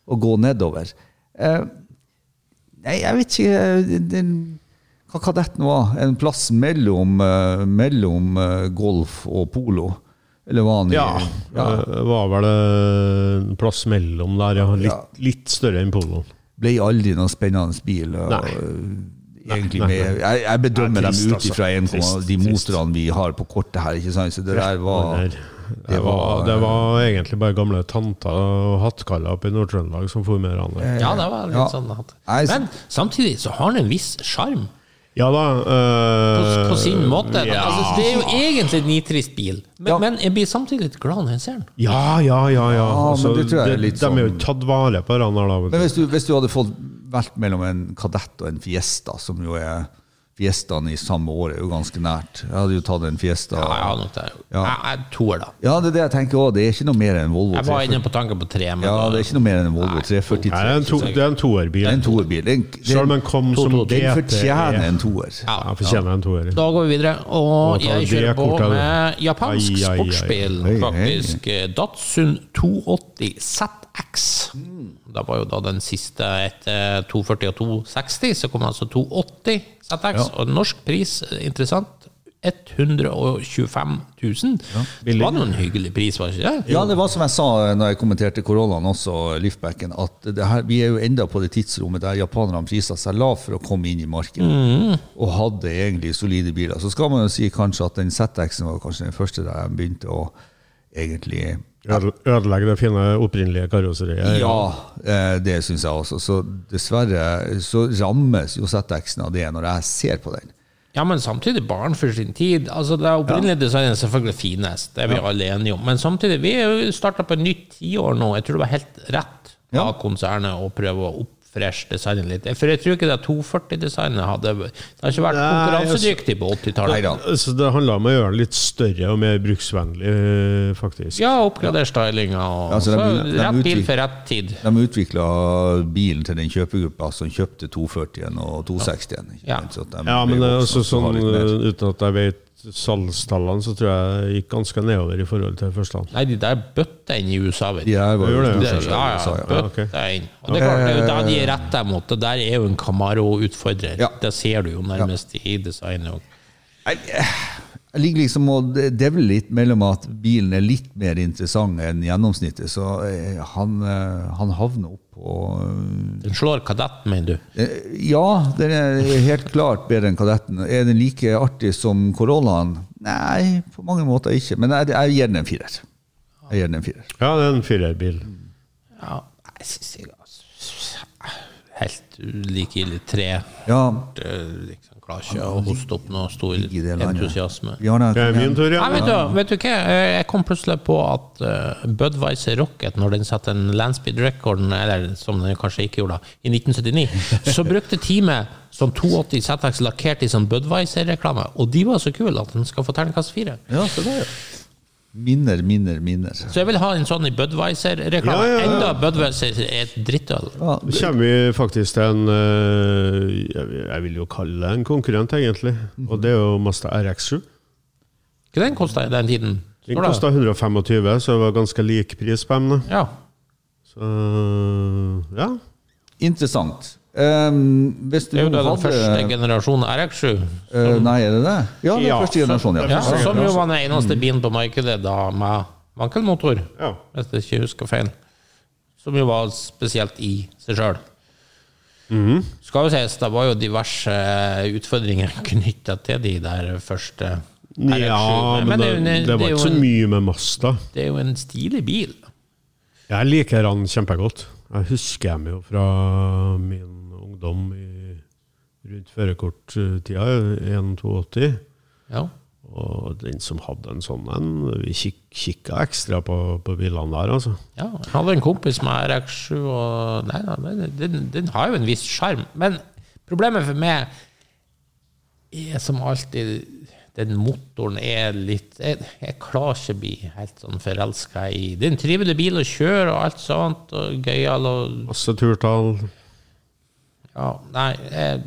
Speaker 3: og gå nedover. Eh, Nei, jeg vet ikke eh, den, Hva kadetten var? En plass mellom, eh, mellom eh, golf og polo? Eller var han i-
Speaker 4: Ja,
Speaker 3: ja.
Speaker 4: det var vel eh, en plass mellom der, ja. Litt,
Speaker 3: Ja.
Speaker 4: litt større enn poloen.
Speaker 3: ble aldri noen spennende bil. Og,
Speaker 4: Nei.
Speaker 3: eh, egentlig
Speaker 4: Nei, nei,
Speaker 3: med, jeg, jeg bedømmer
Speaker 4: Nei, trist,
Speaker 3: dem ut ifra
Speaker 4: altså.
Speaker 3: en-
Speaker 4: Trist,
Speaker 3: de
Speaker 4: trist.
Speaker 3: motorene vi har på kortet her. ikke sant? Så det der var
Speaker 4: Det, var, det var egentlig bare gamle tanter og hattkaller oppe i Nord-Trøndelag som for med hverandre.
Speaker 1: Ja, det var litt
Speaker 3: Ja.
Speaker 1: sånn at.
Speaker 3: Nei, så-
Speaker 1: Men samtidig så har den en viss sjarm,
Speaker 4: Ja da.
Speaker 1: på,
Speaker 4: eh,
Speaker 1: på sin måte.
Speaker 4: Ja.
Speaker 1: Altså, det er jo egentlig en nitrist bil, men,
Speaker 3: Ja.
Speaker 1: men jeg blir samtidig litt glad når jeg ser den.
Speaker 4: ja, ja, ja. ja.
Speaker 3: Ah, men
Speaker 4: Altså,
Speaker 3: det tror jeg er litt
Speaker 4: de, de er jo
Speaker 3: sånn-
Speaker 4: tatt vare på, hverandre da.
Speaker 3: Men
Speaker 4: vet du.
Speaker 3: hvis du, hvis du hadde fått valgt mellom en kadett og en fiesta, som jo er Fiestaen i samme år er jo ganske nært. Jeg hadde jo tatt en fiesta.
Speaker 1: Ja, ja, nok det.
Speaker 3: Ja.
Speaker 1: Jeg, jeg toer, da.
Speaker 3: Ja, det er det jeg tenker også. Det er ikke noe mer enn Volvo
Speaker 1: Jeg var
Speaker 3: 340.
Speaker 1: inne på tanken på tre, men
Speaker 3: Ja, det er ikke noe mer enn en Volvo
Speaker 4: Nei, det er
Speaker 3: 343.
Speaker 4: en to- det er en toerbil.
Speaker 3: Det er en toerbil. Den,
Speaker 4: Selv om
Speaker 3: den,
Speaker 4: den kom som E.
Speaker 1: to- to-
Speaker 3: den
Speaker 4: GTE.
Speaker 3: fortjener en toer.
Speaker 4: Ja, den fortjener en toer.
Speaker 1: Da går vi videre,
Speaker 4: Og
Speaker 1: og
Speaker 4: ta
Speaker 1: jeg
Speaker 4: det
Speaker 1: kjører på
Speaker 4: kortet, du.
Speaker 1: med japansk
Speaker 4: Ai, ai, ai.
Speaker 1: sportsbil,
Speaker 3: Hei, hei.
Speaker 1: faktisk. Eh, Datsun 280 ZX.
Speaker 4: Mm.
Speaker 1: Det var jo da den siste etter 240 og 260, så kom altså 280 ZX. Og norsk pris, eh, interessant, 125 000. Det var nå en hyggelig pris, var det ikke det?
Speaker 3: Ja, det var som jeg sa eh, når jeg kommenterte koronaen også, Liftbacken, at det her, vi er jo enda på det tidsrommet der japanerne prisa seg lav for å komme inn i markedet, og hadde egentlig solide biler. Så skal man jo si kanskje at den ZX-en var kanskje den første der de begynte å egentlig
Speaker 4: Ødel- Ødelegge det fine opprinnelige karosseriet.
Speaker 3: Ja, eh, det syns jeg også. Så dessverre så rammes jo ZX-en av det når jeg ser på den.
Speaker 1: Ja, men samtidig barn for sin tid. Altså, det opprinnelige designet er selvfølgelig finest, det er vi alle enige om. Men samtidig, vi er jo starta på et nytt tiår nå. Jeg tror det var helt rett
Speaker 3: Ja.
Speaker 1: av konsernet å prøve å oppfreshe designet litt. For jeg tror ikke det 240-designet hadde Det har ikke vært
Speaker 4: Nei,
Speaker 1: konkurransedyktig på
Speaker 3: altså- Neida.
Speaker 1: 80-tallet.
Speaker 4: Så det handla om å gjøre den litt større og mer bruksvennlig, eh, faktisk.
Speaker 1: Ja, oppgradere stylinga og
Speaker 3: Ja, så
Speaker 1: så
Speaker 3: de begynner- de
Speaker 1: rett bil
Speaker 3: utvikler-
Speaker 1: for rett tid.
Speaker 3: De utvikla bilen til den kjøpegruppa som kjøpte 240-en og 260-en. ikke
Speaker 1: Ja.
Speaker 3: sant? Så at de
Speaker 4: Ja, men
Speaker 3: ble
Speaker 4: det er
Speaker 3: voksne
Speaker 4: også
Speaker 3: og har
Speaker 4: sånn,
Speaker 3: litt mer.
Speaker 4: eh, uten at jeg vet salgstallene, så tror jeg det gikk ganske nedover i forhold til første land.
Speaker 1: Nei, de der bøtta inn i USA, vet du.
Speaker 3: De her var jo
Speaker 4: Gjør det,
Speaker 1: Det,
Speaker 3: storselgere
Speaker 1: ja,
Speaker 3: i USA,
Speaker 1: ja,
Speaker 3: ja.
Speaker 4: Ja, ok.
Speaker 1: bøtta inn. Og det er klart, det er jo da de er rett der mot. Det der er jo en Camaro-utfordrer.
Speaker 3: Ja.
Speaker 1: Det ser du jo nærmest i designet òg.
Speaker 3: Jeg ligger liksom og devler litt mellom at bilen er litt mer interessant enn gjennomsnittet, så eh, han, eh, han havner opp på
Speaker 1: Den slår kadetten, mener du?
Speaker 3: eh, Ja, den er helt klart bedre enn Kadetten. Er den like artig som Corollaen? Nei, på mange måter ikke. Men jeg, jeg gir den en firer. Jeg gir den en firer.
Speaker 4: Ja, det er en firerbil.
Speaker 1: Ja, jeg synes jeg altså, Helt likegyldig. Tre
Speaker 3: Ja,
Speaker 1: eh, liksom, klarer ikke å hoste opp noe stor
Speaker 3: i det landet.
Speaker 1: entusiasme.
Speaker 3: Bjarne,
Speaker 4: Det er min tur, ja.
Speaker 1: Nei, vet, du, vet du hva? Eh, Jeg kom plutselig på at eh, Budweiser Rocket, når den satte en landspeed record, eller som den kanskje ikke gjorde, da, i 1979, så brukte teamet sånn 82 ZX lakkert i sånn Budweiser-reklame. Og de var så kule at den skal få terningkast fire.
Speaker 3: Ja, se der, ja. Minner, minner, minner.
Speaker 1: Så jeg vil ha en sånn i Budweiser-reklame.
Speaker 4: Ja, ja, ja.
Speaker 1: Enda Budweiser er et drittøl.
Speaker 3: Ja,
Speaker 4: Nå kommer vi faktisk til en eh, Jeg vil- jeg vil jo kalle det en konkurrent, egentlig. Og det er jo Mazda RX7.
Speaker 1: Hva den kosta i den tiden?
Speaker 4: Den
Speaker 1: Står det?
Speaker 4: kosta 125, så det var ganske lik pris på dem. da.
Speaker 1: Ja.
Speaker 4: Så ja.
Speaker 3: interessant. Ehm, hvis du
Speaker 1: Det er jo da den
Speaker 3: hadde-
Speaker 1: første generasjonen RX7,
Speaker 3: Eh, nei, er det det? Ja, det er
Speaker 4: Ja.
Speaker 3: første generasjon, ja.
Speaker 4: Ja. Mm.
Speaker 1: ja, som jo var den eneste bilen på markedet da med vankelmotor.
Speaker 4: ja.
Speaker 1: hvis jeg ikke husker feil. Som jo var spesielt i seg sjøl.
Speaker 4: Mhm.
Speaker 1: Skal jo sies, det var jo diverse utfordringer knytta til de der første
Speaker 4: Ja,
Speaker 1: RX7.
Speaker 4: men
Speaker 1: er jo
Speaker 4: det,
Speaker 1: en-
Speaker 4: det var
Speaker 1: er jo
Speaker 4: ikke så
Speaker 1: en-
Speaker 4: mye med Mazda.
Speaker 1: Det er jo en stilig bil.
Speaker 4: Jeg liker han kjempegodt. Jeg husker dem jo fra min ungdom i, rundt førerkorttida, 1-82.
Speaker 1: Ja.
Speaker 4: Og den som hadde en sånn en, vi kik, kikka ekstra på, på bilene der, altså.
Speaker 1: Ja, jeg hadde en kompis med RX7, og nei, da, den, den, den har jo en viss sjarm. Men problemet for meg er som alltid den motoren er litt Jeg, jeg klarer ikke å bli helt sånn forelska i Det er en trivelig bil å kjøre og alt sånt, og gøyal og
Speaker 4: Masse turtall.
Speaker 1: ja, nei jeg,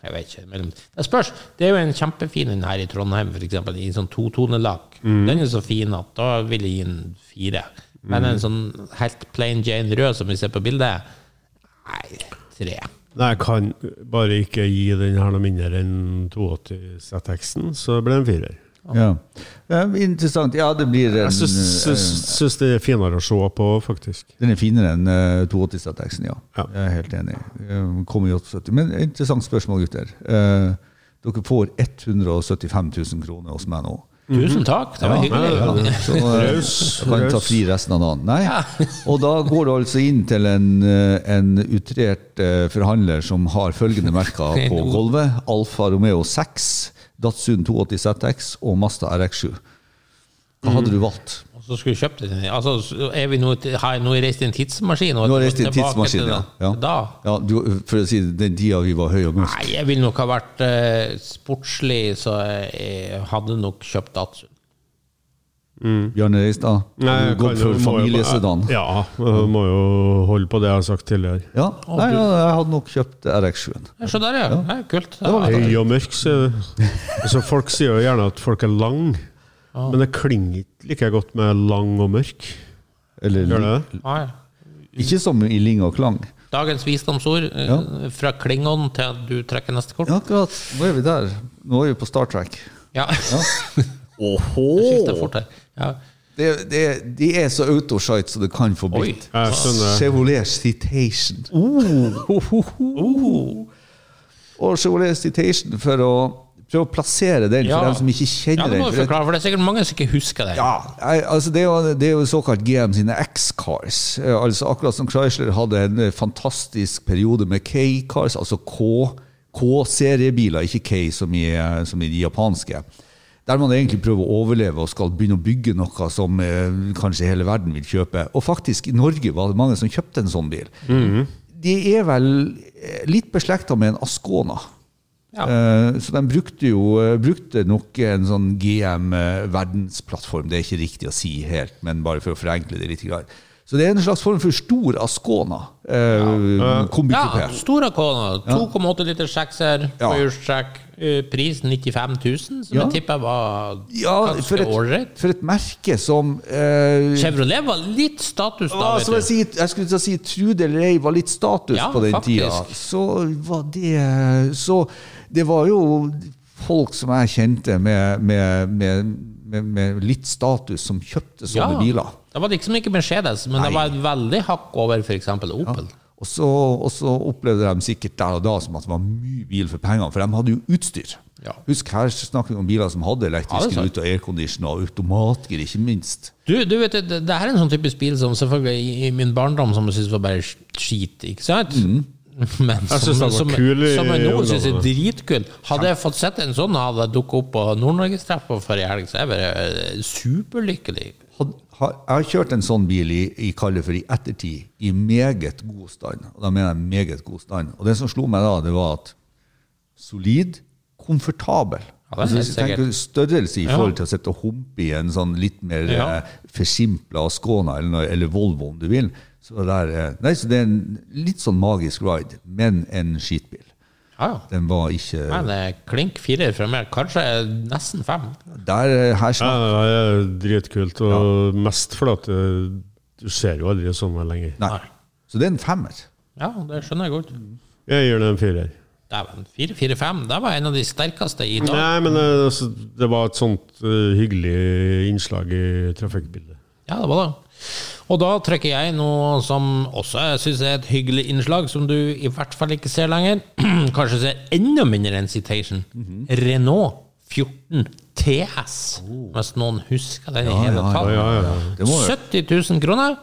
Speaker 1: jeg vet ikke. Men det spørs. Det er jo en kjempefin en her i Trondheim, for eksempel, i en sånn totonelag.
Speaker 3: Mm.
Speaker 1: Den er så fin at da vil jeg gi en fire. Men
Speaker 3: Mm.
Speaker 1: en sånn helt plain Jane rød som vi ser på bildet, nei, tre.
Speaker 4: Nei, jeg kan bare ikke gi den her noe mindre enn 82 ZX-en, så det blir en firer.
Speaker 3: Ja. Eh, Interessant. Ja, det blir en
Speaker 4: Jeg syns,
Speaker 3: eh,
Speaker 4: syns, syns det er finere å se på, faktisk.
Speaker 3: Den er finere enn eh, 82-strategien, ja.
Speaker 4: Ja.
Speaker 3: Jeg er helt enig. Eh, Kom i 78. Men interessant spørsmål, gutter. Eh, dere får 175 000 kroner hos meg nå. Mhm.
Speaker 1: Tusen takk, det var hyggelig.
Speaker 3: Så eh,
Speaker 4: Raus,
Speaker 3: kan ta
Speaker 4: raus.
Speaker 3: fri resten av dagen. Nei. Og da går du altså inn til en, eh, en utrert eh, forhandler som har følgende merker på gulvet. Alfa Romeo 6, Datsun 280 ZX og Mazda RX7. Hva hadde du valgt?
Speaker 1: Og så skulle jeg kjøpt den. Altså, så er vi nå, har jeg nå reist i en tidsmaskin? og
Speaker 3: Nå har jeg reist i en
Speaker 1: tilbake til
Speaker 3: tidsmaskin, ja.
Speaker 1: den?
Speaker 3: ja.
Speaker 1: Da?
Speaker 3: ja du, for å si det, den tida vi var høy og mørk.
Speaker 1: Nei, jeg ville nok ha vært eh, sportslig, så jeg hadde nok kjøpt Datsun.
Speaker 3: Bjarne Reistad,
Speaker 4: Nei,
Speaker 3: har
Speaker 4: jeg
Speaker 3: du gått
Speaker 4: kan jo-
Speaker 3: for
Speaker 4: må jo-
Speaker 3: familiesedan. Ja,
Speaker 4: Ja, jeg må jo holde på det jeg har sagt tidligere.
Speaker 3: nei, ja, jeg hadde nok kjøpt RX7.
Speaker 1: Ja, Så der, ja. Nei, kult.
Speaker 4: Høy og mørk, så altså, Folk sier jo gjerne at folk er lang, men det klinger ikke like godt med lang og mørk.
Speaker 3: Eller,
Speaker 4: Gjør det det?
Speaker 1: Nei.
Speaker 3: ikke som i ling og klang.
Speaker 1: Dagens visdomsord eh, fra Klingon til at du trekker neste kort.
Speaker 3: Ja, akkurat. Nå er vi der. Nå er vi på Star Trek.
Speaker 1: Ja. Skifter fort her. Ja.
Speaker 3: Det, det, de er så autoshite som det kan få blitt.
Speaker 1: Oi.
Speaker 4: Jeg skjønner.
Speaker 3: Chevrolet Citation. Og Chevrolet Citation, for å prøve å plassere den for
Speaker 1: Ja.
Speaker 3: dem som ikke
Speaker 1: ja,
Speaker 3: kjenner
Speaker 1: det
Speaker 3: den.
Speaker 1: må
Speaker 3: for
Speaker 1: vi
Speaker 3: det-
Speaker 1: forklare, for det er sikkert mange som ikke husker det.
Speaker 3: Ja, nei, altså det, er jo, det er jo såkalt GM sine X-cars. Eh, Altså Akkurat som Chrysler hadde en eh, fantastisk periode med K-cars, altså K- K-seriebiler, ikke K som i, eh, som i de japanske. Der man egentlig prøver å overleve og skal begynne å bygge noe som eh, kanskje hele verden vil kjøpe. Og faktisk, i Norge var det mange som kjøpte en sånn bil. De er vel eh, litt beslekta med en Ascona.
Speaker 1: Ja.
Speaker 3: Eh, Så de brukte jo eh, brukte nok en sånn GM-verdensplattform. Det er ikke riktig å si helt, men bare for å forenkle det litt. grann. Så det er en slags form for stor Ascona. Eh,
Speaker 1: Ja,
Speaker 3: Kombikupé.
Speaker 1: Stora Kona. 2,8 liter sekser,
Speaker 3: Ja.
Speaker 1: førhjulstrekk. eh, Pris 95 000, som
Speaker 3: Ja.
Speaker 1: jeg tipper var
Speaker 3: Ja, for
Speaker 1: ganske
Speaker 3: et,
Speaker 1: ålreit.
Speaker 3: for et merke som eh,
Speaker 1: Chevrolet var litt status da,
Speaker 3: ja, som jeg,
Speaker 1: vet du.
Speaker 3: sier, jeg skulle til å si Trude eller ei var litt status
Speaker 1: Ja,
Speaker 3: på den
Speaker 1: faktisk.
Speaker 3: tida. Så var det Så det var jo folk som jeg kjente med, med, med, med, med litt status, som kjøpte sånne biler.
Speaker 1: Det var liksom ikke Mercedes, men det var et veldig hakk over f.eks. Opel.
Speaker 3: Og så, og så opplevde de sikkert der og da som at det var mye bil for pengene, for de hadde jo utstyr.
Speaker 1: Ja.
Speaker 3: Husk, her snakker vi om biler som hadde
Speaker 1: Ja, det
Speaker 3: elektrisk
Speaker 1: er sant.
Speaker 3: rute og aircondition og automatgir, ikke minst.
Speaker 1: Du, du vet, det, det her er en sånn typisk bil som selvfølgelig i, i min barndom som jeg syntes var bare skit, ikke sant? Men som,
Speaker 4: Mhm. synes den var
Speaker 1: som,
Speaker 4: kul i
Speaker 1: som jeg nå syns er
Speaker 4: ungdommen. altså.
Speaker 1: dritkul. Hadde jeg fått sett en sånn, hadde jeg dukket opp på Nord-Norgestreffet på forrige helg, så er jeg bare eh, superlykkelig.
Speaker 3: Had, har, jeg har kjørt en sånn bil i, i kallet for i ettertid, i meget god stand. Og da mener jeg meget god stand. Og det som slo meg da, det var at solid, komfortabel.
Speaker 1: Ja, det er
Speaker 3: altså,
Speaker 1: helt
Speaker 3: hvis jeg tenker størrelse i forhold til å sitte og humpe i en sånn litt mer
Speaker 1: Ja.
Speaker 3: eh, forsimpla Skåna eller, noe- eller Volvo, om du vil. Så det, der, eh, nei, så det er en litt sånn magisk ride, men en skitbil.
Speaker 1: Ja, ja.
Speaker 3: Den var ikke
Speaker 1: Men eh, klink firer fra meg, kanskje nesten fem.
Speaker 3: Der, eh, her
Speaker 4: Ja,
Speaker 3: snakker
Speaker 4: det er dritkult, og mest fordi at eh, du ser jo aldri sånne lenger.
Speaker 3: Nei. Så det er en femmer.
Speaker 1: Ja, det skjønner jeg godt.
Speaker 4: Jeg gir det en firer.
Speaker 1: Dæven, fire, fire, fem, det var en av de sterkeste i dag.
Speaker 4: Nei, men eh, altså, det var et sånt eh, hyggelig innslag i trafikkbildet.
Speaker 1: Ja, det var det. Og da trykker jeg noe som også jeg syns er et hyggelig innslag, som du i hvert fall ikke ser lenger. Kanskje ser enda mindre enn Citation.
Speaker 3: Mhm.
Speaker 1: Renault 14 TS, hvis noen husker den i hele
Speaker 3: Oh. ja,
Speaker 1: tatt.
Speaker 4: Ja, ja, ja.
Speaker 3: Det må jo
Speaker 1: 70 000 kroner.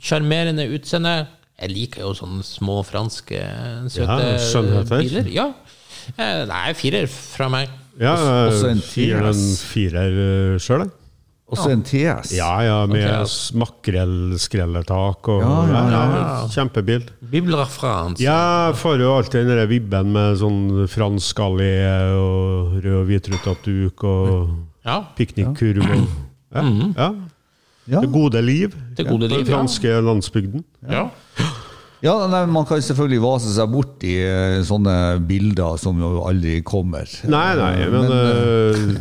Speaker 1: Sjarmerende utseende. Jeg liker jo sånne små franske eh, søte
Speaker 4: Ja, skjønnheter.
Speaker 1: biler. Ja. Eh, Det er firer fra meg.
Speaker 4: ja jeg
Speaker 3: Også en
Speaker 4: gir det en firer sjøl, jeg.
Speaker 3: Også en TS.
Speaker 4: eh, Ja, ja, med
Speaker 1: Ok.
Speaker 4: s- makrellskrelletak og
Speaker 3: Ja, ja,
Speaker 4: Kjempebil.
Speaker 1: Bibel Frans.
Speaker 4: Ja, jeg får jo alltid den der vibben med sånn fransk allé og rød og hvitruta duk og
Speaker 1: Ja,
Speaker 4: piknikkurv og ja, ja.
Speaker 3: Mm. Ja.
Speaker 4: Det gode liv.
Speaker 1: Det gode
Speaker 4: Den
Speaker 1: liv. ja.
Speaker 4: franske landsbygden.
Speaker 1: Ja.
Speaker 3: Ja, nei, Man kan selvfølgelig vase seg bort i eh, sånne bilder som jo aldri kommer.
Speaker 4: Nei, nei, men, øh,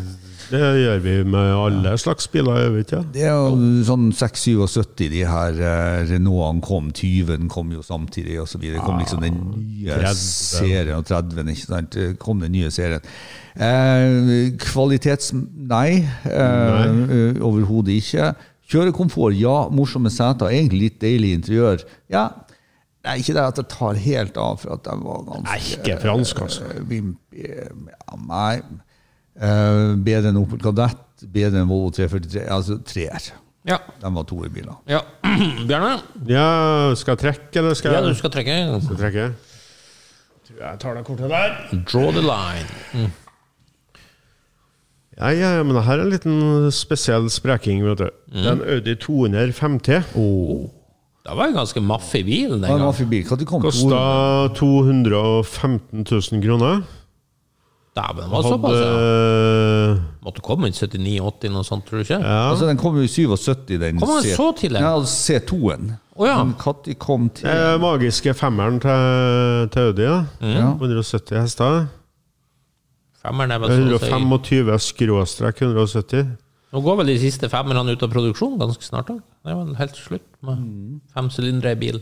Speaker 4: det gjør vi med alle slags biler, gjør vi ikke?
Speaker 3: Det er jo sånn 677 de her eh, Renaultene kom, 20-en kom jo samtidig og så videre. Det kom liksom den nye
Speaker 4: 30.
Speaker 3: serien, og 30-en, ikke sant. Det kom den nye serien. Eh, kvalitets... Nei, eh, eh, overhodet ikke. Kjørekomfort, ja. Morsomme seter. Egentlig litt deilig interiør. Ja. Nei, ikke det at jeg tar helt av, for at jeg var ganske
Speaker 4: Nei, ikke fransk, altså.
Speaker 3: Eh, Vimpy eh, ja, Nei. Eh, bedre enn Opel Kadett, bedre enn Volvo 343. Altså treer.
Speaker 1: ja.
Speaker 3: De var to i biler.
Speaker 1: ja. Bjarne,
Speaker 4: Ja, skal jeg trekke, eller skal
Speaker 1: ja, du
Speaker 4: jeg
Speaker 1: skal trekke.
Speaker 4: skal jeg trekke? Tror jeg tar det kortet der.
Speaker 1: Draw the line.
Speaker 4: Ja, ja, ja, men her er en liten spesiell spreking, vet du. Det er en Audi 250.
Speaker 1: Det var en ganske maffig bil den
Speaker 3: Hva
Speaker 1: gangen.
Speaker 3: var for bil? Hva de kom
Speaker 4: Kosta
Speaker 3: to-
Speaker 4: 215 000 kroner.
Speaker 1: Dæven, det var såpass, ja.
Speaker 4: Hadde
Speaker 1: Måtte komme inn 79-80 noe sånt, tror du ikke?
Speaker 4: Ja.
Speaker 3: Altså, den kom jo i 77, den
Speaker 1: Kom den så tidlig?
Speaker 3: Ja, altså C2-en.
Speaker 1: Å, ja. Eh,
Speaker 3: Men Når de kom til
Speaker 4: Det er den eh, magiske femmeren til, til Audi, da.
Speaker 3: Ja.
Speaker 4: 170 hester.
Speaker 1: Femmeren er vel så å si
Speaker 4: 125 skråstrek 170.
Speaker 1: Nå går vel de siste femmerne ut av produksjon ganske snart òg. Det er vel helt slutt med femsylindere i bil.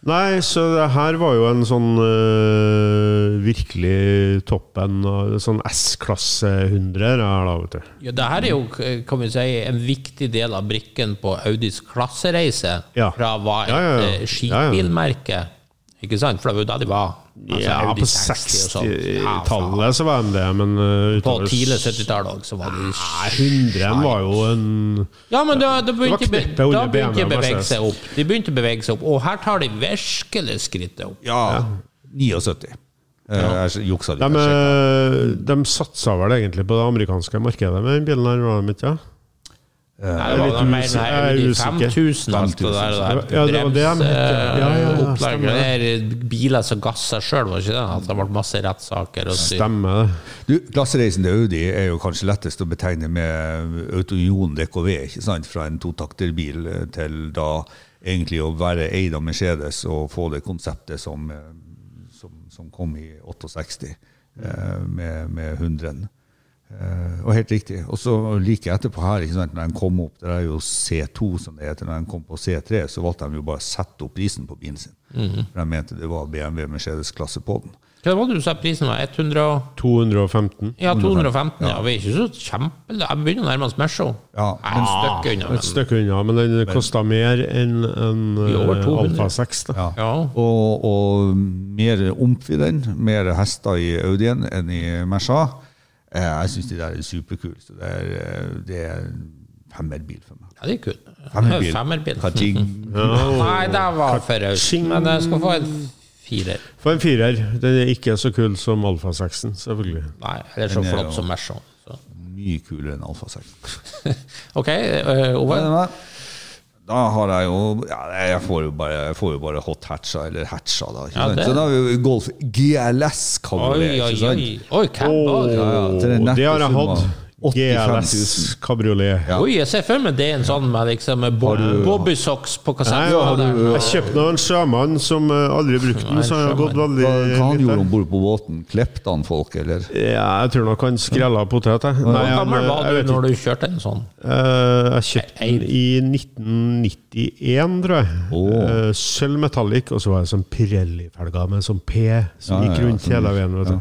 Speaker 4: Nei, så det her var jo en sånn øh, virkelig toppen av- Sånn S-klasse 100 er det her, da, vet du.
Speaker 1: Ja, det her er jo kan vi si, en viktig del av brikken på Audis klassereise
Speaker 4: Ja.
Speaker 1: fra hva et
Speaker 4: Ja, ja, ja.
Speaker 1: eh, skipbilmerke Ikke sant? For det var jo da de var. altså,
Speaker 4: ja,
Speaker 1: Audi
Speaker 4: på
Speaker 1: 60 og sånn. Ja, faen.
Speaker 4: 60-tallet så var de det, men øh,
Speaker 1: På
Speaker 4: utover
Speaker 1: tidlig 70-tall òg, så var de
Speaker 4: Nei, 100 var jo en
Speaker 1: Ja, men da, da begynte
Speaker 4: Det var
Speaker 1: de
Speaker 4: kneppet under
Speaker 1: da begynte de å
Speaker 4: BMW,
Speaker 1: bevege
Speaker 4: altså.
Speaker 1: seg opp. De begynte å bevege seg opp, og her tar de virkelig skrittet opp.
Speaker 3: Ja, 79. Eh, Jeg juksa litt.
Speaker 4: de,
Speaker 3: jeg sjekket.
Speaker 4: øh, de satsa vel egentlig på det amerikanske markedet med den bilen her, var de ikke?
Speaker 1: Nei, det var
Speaker 4: litt
Speaker 1: da mer
Speaker 4: usikker.
Speaker 1: nei,
Speaker 4: Jeg er
Speaker 1: de
Speaker 4: usikker.
Speaker 1: 5000, alt det
Speaker 3: 5000,
Speaker 1: der. der
Speaker 4: Ja, det var det de het, ja. Ja, ja, ja,
Speaker 1: Bremseopplegget.
Speaker 4: stemmer
Speaker 1: det er biler som gasser sjøl, var ikke det? At det ble masse rettssaker. og styr.
Speaker 4: Stemmer det.
Speaker 3: Du, Klassereisen til Audi er jo kanskje lettest å betegne med Autonion DKV, ikke sant? fra en totakterbil eh, til da egentlig å være eid av Mercedes og få det konseptet som, eh, som, som kom i 68 eh, med, med 100 Eh, og helt riktig. Og så like etterpå her, ikke sant, når den kom opp, det er jo C2 som det heter, når den kom på C3, så valgte de jo bare å sette opp prisen på bilen sin. For de mente det var BMW Mercedes-klasse på den.
Speaker 1: Hva var det du sa prisen var? 100 og
Speaker 4: 215.
Speaker 1: Ja, 215. Ja, vi er ikke så kjempe... Jeg begynner å nærme oss Mesho.
Speaker 3: Ja,
Speaker 1: Et stykke unna.
Speaker 4: Et stykke unna, men den kosta mer enn en
Speaker 1: I over
Speaker 4: øh,
Speaker 1: 200.
Speaker 4: Alfa 6. da.
Speaker 3: Ja.
Speaker 1: Ja.
Speaker 3: Og, og mer omf i den, mer hester i Audien enn i Merca. Eh, Jeg syns de der er superkule. Så det er, eh, det er en femmerbil for meg.
Speaker 1: Ja, det er kult.
Speaker 3: Femmerbil.
Speaker 1: Femmerbil.
Speaker 3: Kajing.
Speaker 1: Nei, det var for raust.
Speaker 4: Kaching.
Speaker 1: Men jeg skal få en firer.
Speaker 4: For en firer. Den er ikke så kul som Alfa 6-en, selvfølgelig.
Speaker 1: Nei, eller så
Speaker 3: Den er
Speaker 1: flott
Speaker 3: jo-
Speaker 1: som Mesho. Så.
Speaker 3: Mye kulere enn Alfa 6.
Speaker 1: OK, eh, Ove.
Speaker 3: Da har jeg jo ja, Jeg får jo bare, jeg får jo bare hot hatcha, eller hatcha, da. Ikke
Speaker 1: Ja,
Speaker 3: sant?
Speaker 1: det-
Speaker 3: Så da har vi jo Golf GLS,
Speaker 1: Oi,
Speaker 3: kaller vi det.
Speaker 1: oi,
Speaker 3: ikke sant?
Speaker 1: oi. Oi, Campbell.
Speaker 3: Ja, ja, til den
Speaker 4: Og det
Speaker 3: nette
Speaker 4: har jeg
Speaker 3: summa.
Speaker 4: hatt.
Speaker 3: 85
Speaker 4: GLS
Speaker 3: 000.
Speaker 4: kabriolet.
Speaker 1: Oi, jeg ser for meg det er en sånn med liksom med bo bobbysocks på
Speaker 4: Nei,
Speaker 1: kassetten.
Speaker 4: jeg kjøpte den av en sjømann som eh, aldri brukte den, så jeg har gått veldig
Speaker 3: Hva hva han gjorde
Speaker 4: lite.
Speaker 3: om bord på båten? Klepte han folk, eller?
Speaker 4: Ja, jeg tror nok han skrella potet, jeg. Nei,
Speaker 1: Hvor
Speaker 4: han,
Speaker 1: gammel
Speaker 4: eh,
Speaker 1: var
Speaker 4: jeg,
Speaker 1: du
Speaker 4: vet ikke.
Speaker 1: når du kjørte en sånn?
Speaker 4: Eh, jeg kjøpte den i 1991, tror jeg.
Speaker 3: Åh.
Speaker 4: Eh, Sølv metallic, og så var jeg sånn Pirelli-felga med sånn P
Speaker 3: Ja,
Speaker 4: som
Speaker 3: ja,
Speaker 4: gikk
Speaker 3: ja,
Speaker 4: rundt
Speaker 3: sånn-
Speaker 4: hele veien. vet du.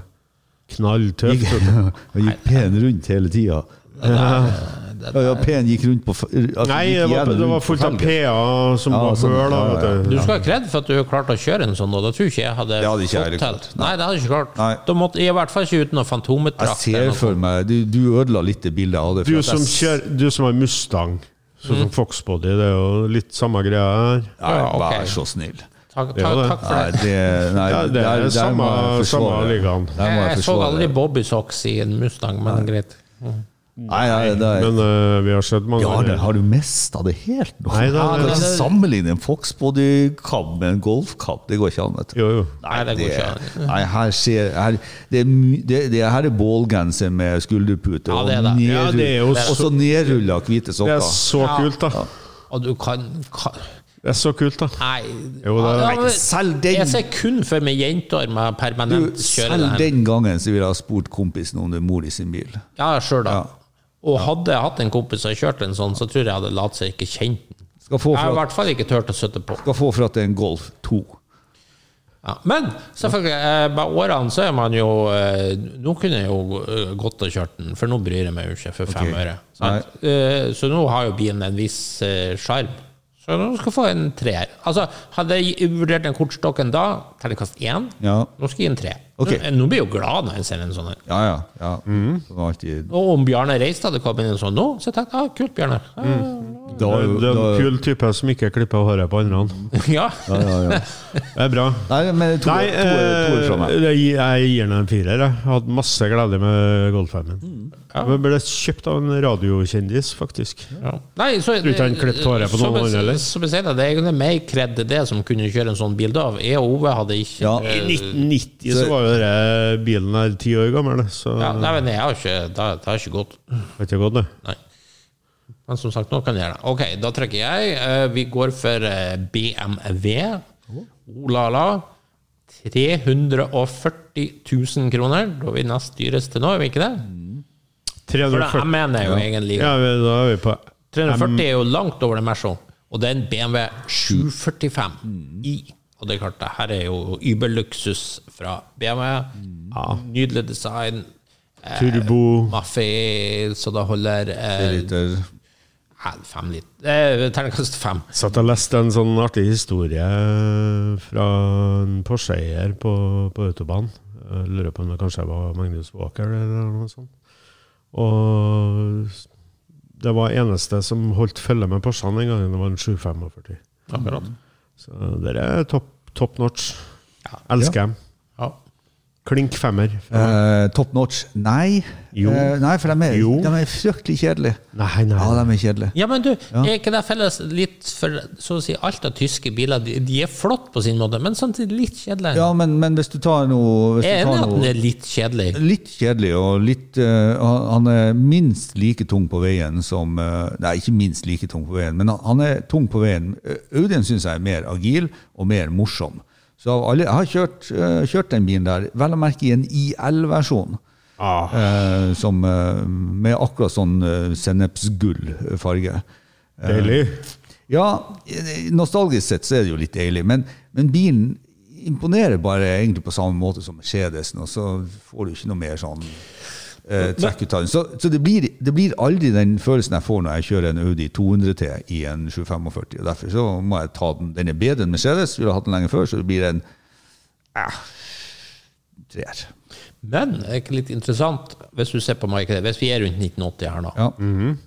Speaker 4: Knalltøft. vet du.
Speaker 3: Han gikk pen rundt hele tida. Ja, ja, pen gikk rundt på f- altså,
Speaker 4: Nei,
Speaker 3: gikk igjen
Speaker 4: det var, det var
Speaker 3: rundt på
Speaker 4: fullt av
Speaker 3: felgen.
Speaker 4: PA som
Speaker 3: Ja,
Speaker 4: var
Speaker 3: sånn,
Speaker 4: høl. da,
Speaker 3: ja, ja.
Speaker 4: vet
Speaker 1: Du skal ha kred for at du klarte å kjøre en sånn, og da tror ikke jeg hadde,
Speaker 3: Det hadde ikke jeg
Speaker 1: fått
Speaker 3: klart.
Speaker 1: til. Nei, det hadde jeg ikke klart.
Speaker 3: Nei.
Speaker 1: Da måtte jeg i hvert fall ikke uten noe
Speaker 3: Jeg
Speaker 1: fantometdrakt. eller
Speaker 3: ser
Speaker 1: noe
Speaker 3: for meg Du, du ødela litt det bildet jeg hadde. for
Speaker 4: Du
Speaker 3: at jeg
Speaker 4: som,
Speaker 3: s-
Speaker 4: kjør, du som har Mustang, sånn som Foxbody, det er jo litt samme greia her.
Speaker 3: Nei,
Speaker 1: Ja, ok.
Speaker 3: Vær så snill.
Speaker 1: Takk,
Speaker 4: Ja,
Speaker 1: takk,
Speaker 4: det-
Speaker 1: takk for
Speaker 3: Nei,
Speaker 1: det.
Speaker 3: det, nei,
Speaker 4: Ja, det er
Speaker 3: der- der
Speaker 4: samme-
Speaker 3: må jeg forsvare.
Speaker 4: samme ligaen.
Speaker 3: Der må
Speaker 1: Jeg,
Speaker 3: jeg
Speaker 1: jeg så
Speaker 3: forsvare.
Speaker 1: aldri bobbysocks i en Mustang, men greit.
Speaker 3: Nei, nei, nei.
Speaker 4: Men eh, vi har sett mange
Speaker 3: Ja, det har du mista det helt nå?
Speaker 4: Nei, da,
Speaker 3: du kan
Speaker 1: det-
Speaker 3: ikke sammenligne en Foxbody-cab med en golfcab. Det går ikke an. vet du.
Speaker 4: Jo, jo.
Speaker 1: Nei, det går ikke
Speaker 3: Nei, her skjer her, det, er my- det, det her er bålgenser med skulderpute
Speaker 1: Ja,
Speaker 3: og
Speaker 1: det er det.
Speaker 3: nedrull-
Speaker 4: Ja, det er jo
Speaker 3: og så
Speaker 4: så-
Speaker 3: nedrulla hvite
Speaker 4: Det er
Speaker 3: sokker.
Speaker 4: så
Speaker 1: Ja.
Speaker 4: kult, da.
Speaker 1: Og du kan, kan
Speaker 4: Det er så kult, da.
Speaker 1: Nei.
Speaker 4: Jo, det er-
Speaker 1: Ja, men-
Speaker 3: Selv den-
Speaker 1: Jeg ser kun for meg jenter med permanent
Speaker 3: Du,
Speaker 1: kjøre
Speaker 3: selv
Speaker 1: det her.
Speaker 3: den gangen så ville jeg ha spurt kompisen om det er mor i sin bil.
Speaker 1: Ja, sjøl da.
Speaker 3: Ja.
Speaker 1: Og hadde jeg hatt en kompis som kjørte en sånn, så tror jeg jeg hadde latt seg ikke kjent den.
Speaker 3: Skal få
Speaker 1: Jeg har i
Speaker 3: for at,
Speaker 1: hvert fall ikke turt å sitte på.
Speaker 3: skal få for at det er en Golf 2.
Speaker 1: Ja. Men selvfølgelig, eh, med årene så er man jo eh, Nå kunne jeg jo eh, gått og kjørt den, for nå bryr jeg meg jo ikke for fem
Speaker 3: Ok.
Speaker 1: øre. Sant? Eh, Så nå har jo bilen en viss eh, sjarm. Så nå skal jeg få en treer. Altså, hadde jeg vurdert den kortstokken da, terningkast én.
Speaker 3: Ja.
Speaker 1: Nå skal jeg gi en tre.
Speaker 3: Ok.
Speaker 1: Nå, nå blir jeg jo glad når jeg ser en sånn her.
Speaker 3: Ja, ja. ja.
Speaker 4: Mhm.
Speaker 3: Som alltid.
Speaker 1: Og om Bjarne Reist hadde kommet inn sånn nå, så tenkte jeg ah, kult, Bjarne. Ja,
Speaker 3: Da,
Speaker 4: Det er
Speaker 3: da,
Speaker 4: en kul type som ikke klipper håret på andre.
Speaker 1: Ja.
Speaker 3: ja, ja, ja.
Speaker 4: Det er bra.
Speaker 3: Nei, men to,
Speaker 4: Nei,
Speaker 3: to, to, to fra meg.
Speaker 4: eh, det gi- jeg gir den en firer. Jeg Jeg hadde masse glede med Golfen
Speaker 3: Mm.
Speaker 4: min. Jeg ble kjøpt av en radiokjendis, faktisk.
Speaker 1: Ja. Nei, så, eh,
Speaker 4: Tror ikke han klippte håret på
Speaker 1: som jeg-
Speaker 4: noen andre, eller?
Speaker 1: Som jeg sier, det er egentlig mer kred til det som kunne kjøre en sånn bil da. Jeg og Ove hadde ikke Eh,
Speaker 3: Ja.
Speaker 4: I 1990 så var jo denne bilen her ti år gammel, så
Speaker 1: Ja,
Speaker 4: det
Speaker 1: nei, men jeg har ikke, det, det har ikke gått.
Speaker 4: var ikke godt, det.
Speaker 1: Nei. Men som sagt, nå kan jeg gjøre det. Ok, da trekker jeg. Eh, Vi går for eh, BMW. Oh la la. 340 000 kroner. Da er vi nest dyreste nå, er vi ikke det? For det, jeg
Speaker 4: 340
Speaker 1: mener jo egentlig
Speaker 4: Ja, men da er vi på
Speaker 1: 340 er jo langt over det Merso, og det er en BMW
Speaker 3: Mm.
Speaker 1: 745 i. Og det er klart, det her er jo überluksus fra BMW.
Speaker 3: Mm.
Speaker 1: Nydelig design. Eh,
Speaker 4: turbo
Speaker 1: Maffé, så det holder eh,
Speaker 3: Liter.
Speaker 1: ja, fem liter eh, Terningkast fem.
Speaker 4: Satt og leste en sånn artig historie eh, fra en Porsche-eier på, på autobahn. Jeg lurer på om det kanskje var Magnus Walker eller noe sånt. Og det var eneste som holdt følge med Porschen den gangen, det var en 745.
Speaker 1: Akkurat.
Speaker 4: Så dere er top, top notch.
Speaker 1: Ja.
Speaker 4: Elsker dem.
Speaker 1: Ja.
Speaker 4: Klink femmer.
Speaker 3: Eh, top notch. Nei.
Speaker 4: Jo.
Speaker 3: Eh, nei, for de er,
Speaker 4: Jo.
Speaker 3: de er fryktelig kjedelige.
Speaker 4: Nei, nei.
Speaker 3: Ja, de er kjedelige.
Speaker 1: ja, men du, er ikke det felles litt for så å si alt av tyske biler? De, de er flott på sin måte, men samtidig litt kjedelige.
Speaker 3: Ja, men, men hvis du tar noe, hvis
Speaker 1: jeg er
Speaker 3: du
Speaker 1: enig i
Speaker 3: tar
Speaker 1: at den
Speaker 3: noe
Speaker 1: er litt kjedelig.
Speaker 3: Litt kjedelig og litt eh, han- Han er minst like tung på veien som eh, Nei, ikke minst like tung på veien, men han- han er tung på veien. Eh, Audien syns jeg er mer agil og mer morsom. Så av alle, jeg har kjørt, eh, kjørt den bilen der, vel å merke i en IL-versjon.
Speaker 4: Ah.
Speaker 3: eh, som, eh, med akkurat sånn eh, sennepsgull farge.
Speaker 4: Deilig.
Speaker 3: Eh, Ja, nostalgisk sett så er det jo litt deilig, men, men bilen imponerer bare egentlig på samme måte som Mercedesen, og så får du ikke noe mer sånn eh, trekk ut av den. Så, så det, blir, det blir aldri den følelsen jeg får når jeg kjører en Audi 200 T i en 745, og derfor så må jeg ta den. Den er bedre enn Mercedes, ville hatt den lenge før, så det blir en eh, treer.
Speaker 1: Men det er ikke litt interessant, hvis du ser på markedet, hvis vi er rundt 1980 her nå
Speaker 3: Ja.
Speaker 4: Mm.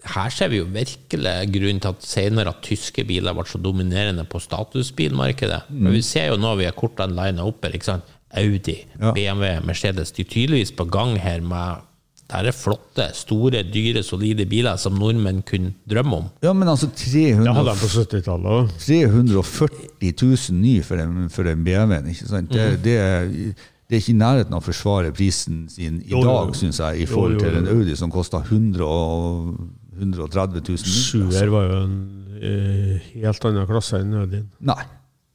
Speaker 1: Her ser vi jo virkelig grunnen til at senere at tyske biler ble så dominerende på statusbilmarkedet.
Speaker 4: Mm.
Speaker 1: Men vi ser jo nå vi har kortene lina opp her, ikke sant. Audi,
Speaker 3: Ja.
Speaker 1: BMW, Mercedes. De er tydeligvis på gang her med der er flotte, store, dyre, solide biler som nordmenn kunne drømme om.
Speaker 3: ja, men altså
Speaker 4: Det hadde de
Speaker 3: 300
Speaker 4: på 70-tallet òg.
Speaker 3: 340 000 ny for en, for en BMW-en. ikke sant? Det,
Speaker 4: Mhm.
Speaker 3: det, er, det er ikke i nærheten av å forsvare prisen sin i
Speaker 4: Jo, jo, jo.
Speaker 3: dag, syns jeg, i
Speaker 4: Jo,
Speaker 3: forhold
Speaker 4: jo,
Speaker 3: til
Speaker 4: jo.
Speaker 3: en Audi som koster 100 og 130 000. mindre.
Speaker 4: Sjuer var jo en eh, helt annen klasse enn Audien.
Speaker 3: Nei.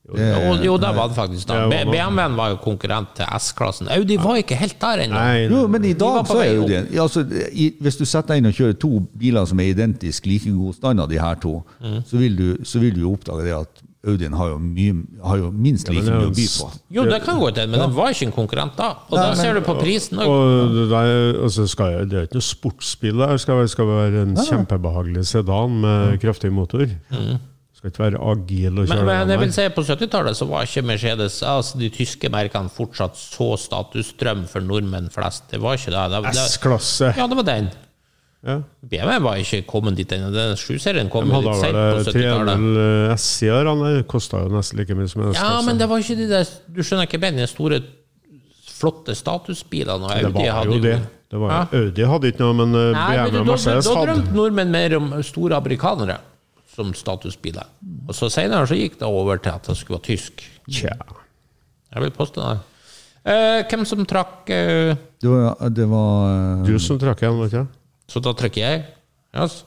Speaker 1: Jo, jo det var det faktisk da.
Speaker 4: Det var det.
Speaker 1: BMW-en var jo konkurrent til S-klassen. Audi var ikke helt der ennå.
Speaker 4: Nei,
Speaker 3: Jo, men i
Speaker 1: var
Speaker 3: dag
Speaker 1: på
Speaker 3: så er
Speaker 1: vei
Speaker 3: jo
Speaker 1: opp.
Speaker 3: det altså, i, Hvis du setter deg inn og kjører to biler som er identisk like god stand av de her to,
Speaker 4: Mhm.
Speaker 3: så, vil du, så vil du jo oppdage det at Audien har jo, mye, har jo minst
Speaker 4: men
Speaker 3: like
Speaker 4: det er jo
Speaker 3: mye å by
Speaker 4: en
Speaker 3: på.
Speaker 1: Jo, det kan gå til, men den var ikke en konkurrent da. Og da ser du på prisen òg.
Speaker 4: Og det, der, altså skal, jeg- det er jo ikke noe sportsbil der. Det skal, være- skal være en kjempebehagelig sedan med kraftig motor. Skal ikke være agil og
Speaker 1: Mm. Men,
Speaker 4: kjøre
Speaker 1: men jeg vil
Speaker 4: den der.
Speaker 1: si på 70-tallet så var ikke Mercedes, altså de tyske merkene, fortsatt så statusstrøm for nordmenn flest. Det var ikke det. det, det
Speaker 4: S-klasse.
Speaker 1: ja, det var den.
Speaker 4: Ja.
Speaker 1: BMW var ikke kommet dit ennå. Den 7-serien kom
Speaker 4: De
Speaker 1: jo
Speaker 4: hadde
Speaker 1: litt sent
Speaker 4: vel
Speaker 1: på 70-tallet.
Speaker 4: 300 S-sider. Det kosta eh, jo nesten like mye som en
Speaker 1: Ja, men
Speaker 4: S-klasse.
Speaker 1: det var ikke de der Du skjønner ikke bedre enn de store flotte statusbilene. Og
Speaker 4: Det
Speaker 1: Audi
Speaker 4: var
Speaker 1: hadde
Speaker 4: jo det. det var, jo- Audi hadde ikke noe, men eh,
Speaker 1: Nei, men
Speaker 4: BMW
Speaker 1: du,
Speaker 4: og
Speaker 1: da,
Speaker 4: Mercedes
Speaker 1: da
Speaker 4: hadde.
Speaker 1: drømte nordmenn mer om store amerikanere som statusbiler. Og så senere så gikk det over til at det skulle være tysk.
Speaker 4: Tja.
Speaker 1: Jeg vil påstå det. Eh, hvem som trakk eh,
Speaker 3: Det var, det var eh,
Speaker 4: Du som trakk igjen, var det ikke det?
Speaker 1: Så da trykker jeg. Yes.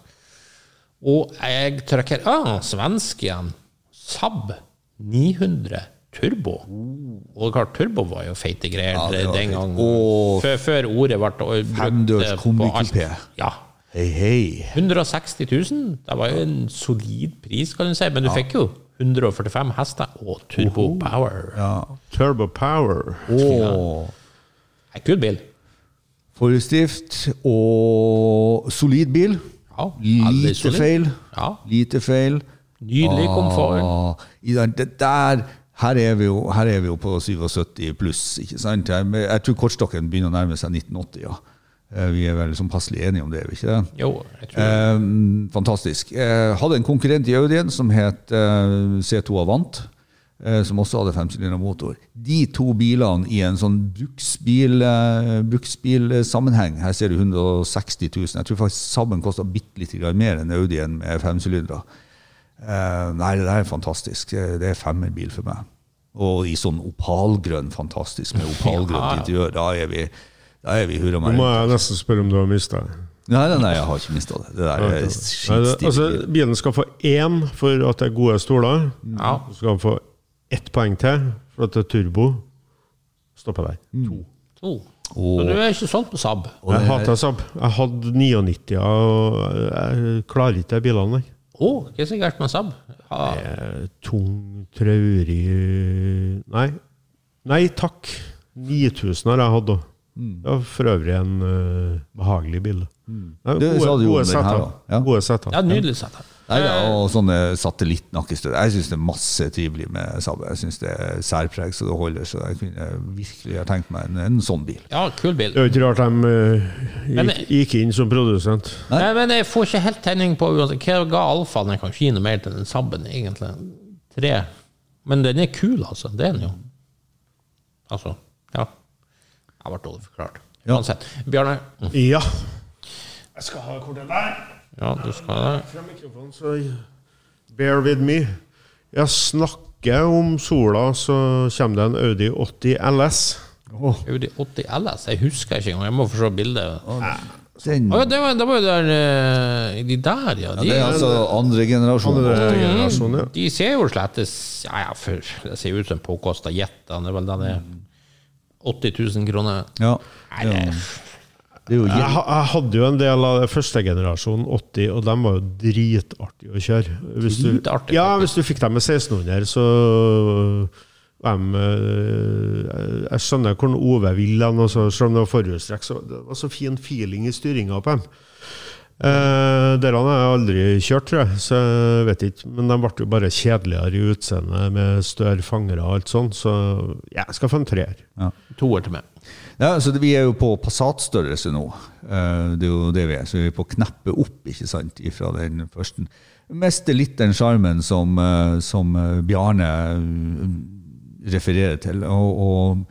Speaker 1: Og jeg trykker ah, svensk igjen. Saab 900 Turbo. Og det er klart, turbo var jo feite greier
Speaker 3: Oh. Ja, det var
Speaker 1: den
Speaker 3: feit.
Speaker 1: gangen.
Speaker 3: Åh.
Speaker 1: Før, før ordet ble brukt
Speaker 3: Femdørs
Speaker 1: på alt.
Speaker 3: kombikupé.
Speaker 1: Ja.
Speaker 3: Hei, hei.
Speaker 1: 160 000. Det var jo en solid pris, kan du si. Men du fikk jo 145 hester og turbo power.
Speaker 4: Turbo Power.
Speaker 3: Og
Speaker 1: En kul bil.
Speaker 3: forstift og solid bil.
Speaker 1: Ja, veldig
Speaker 3: Lite
Speaker 1: solid.
Speaker 3: feil.
Speaker 1: Ja.
Speaker 3: Lite feil.
Speaker 1: Nydelig komfort.
Speaker 3: Ah, i den- det der, her er, vi jo, her er vi jo på 77 pluss, ikke sant? Jeg, men jeg tror kortstokken begynner å nærme seg 1980, ja. Eh, Vi er vel sånn passelig enige om det, er vi ikke det?
Speaker 1: Jo, jeg tror
Speaker 3: Eh, fantastisk. Eh, hadde en konkurrent i Audien som het eh, C2 Avant, eh, som også hadde femsylindra motor. De to bilene i en sånn bruksbil, eh, bruksbilsammenheng Her ser du 160 000. Jeg tror faktisk sammen kosta bitte lite grann mer enn Audien med femsylindere. Eh, nei, det der er fantastisk. Eh, Det er femmerbil for meg. Og i sånn opalgrønn, fantastisk med opalgrønt
Speaker 1: Ja, ja.
Speaker 3: interiør. Da er vi, da er vi hurra
Speaker 4: Nå
Speaker 3: meg
Speaker 4: må
Speaker 3: rundt.
Speaker 4: jeg nesten spørre om du har mista den.
Speaker 3: Nei, nei, nei, jeg har ikke mista det. Det der er
Speaker 4: Nei, det-
Speaker 3: skitstilig.
Speaker 4: Altså, bilen skal få én for at det er gode stoler.
Speaker 1: Ja.
Speaker 4: Du skal få ett poeng til for at det er turbo. Stopper der. To.
Speaker 1: to. Så du er ikke solgt på Saab?
Speaker 4: Jeg hater Saab. Jeg hadde 99 og jeg klarer ikke de bilene. jeg.
Speaker 1: Å, hva er så gærent med Saab? Ha,
Speaker 4: Eh, Tung, traurig Nei. Nei takk. 9000 har jeg hatt òg. Det var for øvrig en eh, behagelig bil. Nei,
Speaker 3: Det sa du jo om den her
Speaker 4: seter.
Speaker 3: også. Ja.
Speaker 4: Gode seter.
Speaker 1: ja, nydelig sett.
Speaker 3: Nei, ja, og sånne satellittnakkestøtter. Jeg syns det er masse trivelig med Saab. Jeg syns det er særpreg så det holder, så jeg kunne virkelig ha tenkt meg en, en sånn bil.
Speaker 1: Ja, kul bil.
Speaker 4: Det er jo ikke rart de eh,
Speaker 1: Men-
Speaker 4: gikk, gikk inn som produsent.
Speaker 1: Nei. men jeg får ikke helt tenning på uansett. Hva ga alfaen? Jeg kan ikke gi noe mer til den Saaben, egentlig. Tre. Men den er kul, altså. Det er den jo. Altså, ja. Jeg ble dårlig forklart.
Speaker 3: Ja.
Speaker 1: Uansett. Bjarne. Mm.
Speaker 4: Ja. Jeg skal ha kortet der.
Speaker 1: Ja, du skal det.
Speaker 4: Fra mikrofonen, så bear with me. Jeg snakker om sola, så kommer det en Audi 80 LS.
Speaker 1: Audi 80 LS. Jeg husker ikke engang. Jeg må få se bildet. Å
Speaker 3: Den,
Speaker 1: ja, det var, det var jo der eh, De der, ja. De,
Speaker 3: det er altså andre generasjon.
Speaker 4: Andre
Speaker 3: sånn,
Speaker 4: generasjon, ja.
Speaker 1: Mm. de ser jo slettes Ja, ja, for det ser jo ut som en påkosta jet. Den er vel den er 80 000 kroner.
Speaker 3: Ja,
Speaker 1: Nei, det er
Speaker 3: det er jo
Speaker 4: Jeg,
Speaker 3: jævlig.
Speaker 4: ha- jeg hadde jo en del av det første generasjonen 80, og de var jo dritartige å kjøre. Hvis du,
Speaker 1: Dritartige?
Speaker 4: ja, hvis du fikk dem med 1600, så dem, eh, Jeg skjønner hvordan Ove vil hen, og så- selv om det var forhjulstrekk. så Det var så fin feeling i styringa på dem. Eh, Dere har jeg aldri kjørt, tror jeg, så jeg vet ikke. Men de ble jo bare kjedeligere i utseendet, med større fangere og alt sånt, så ja, jeg skal få en treer.
Speaker 1: toer til meg.
Speaker 3: Ja, så det, vi er jo på Passat-størrelse nå. Eh, Det er jo det vi er. Så vi er på kneppet opp, ikke sant, ifra den første. Mister litt den sjarmen som, eh, som eh, Bjarne eh, refererer til. Og, og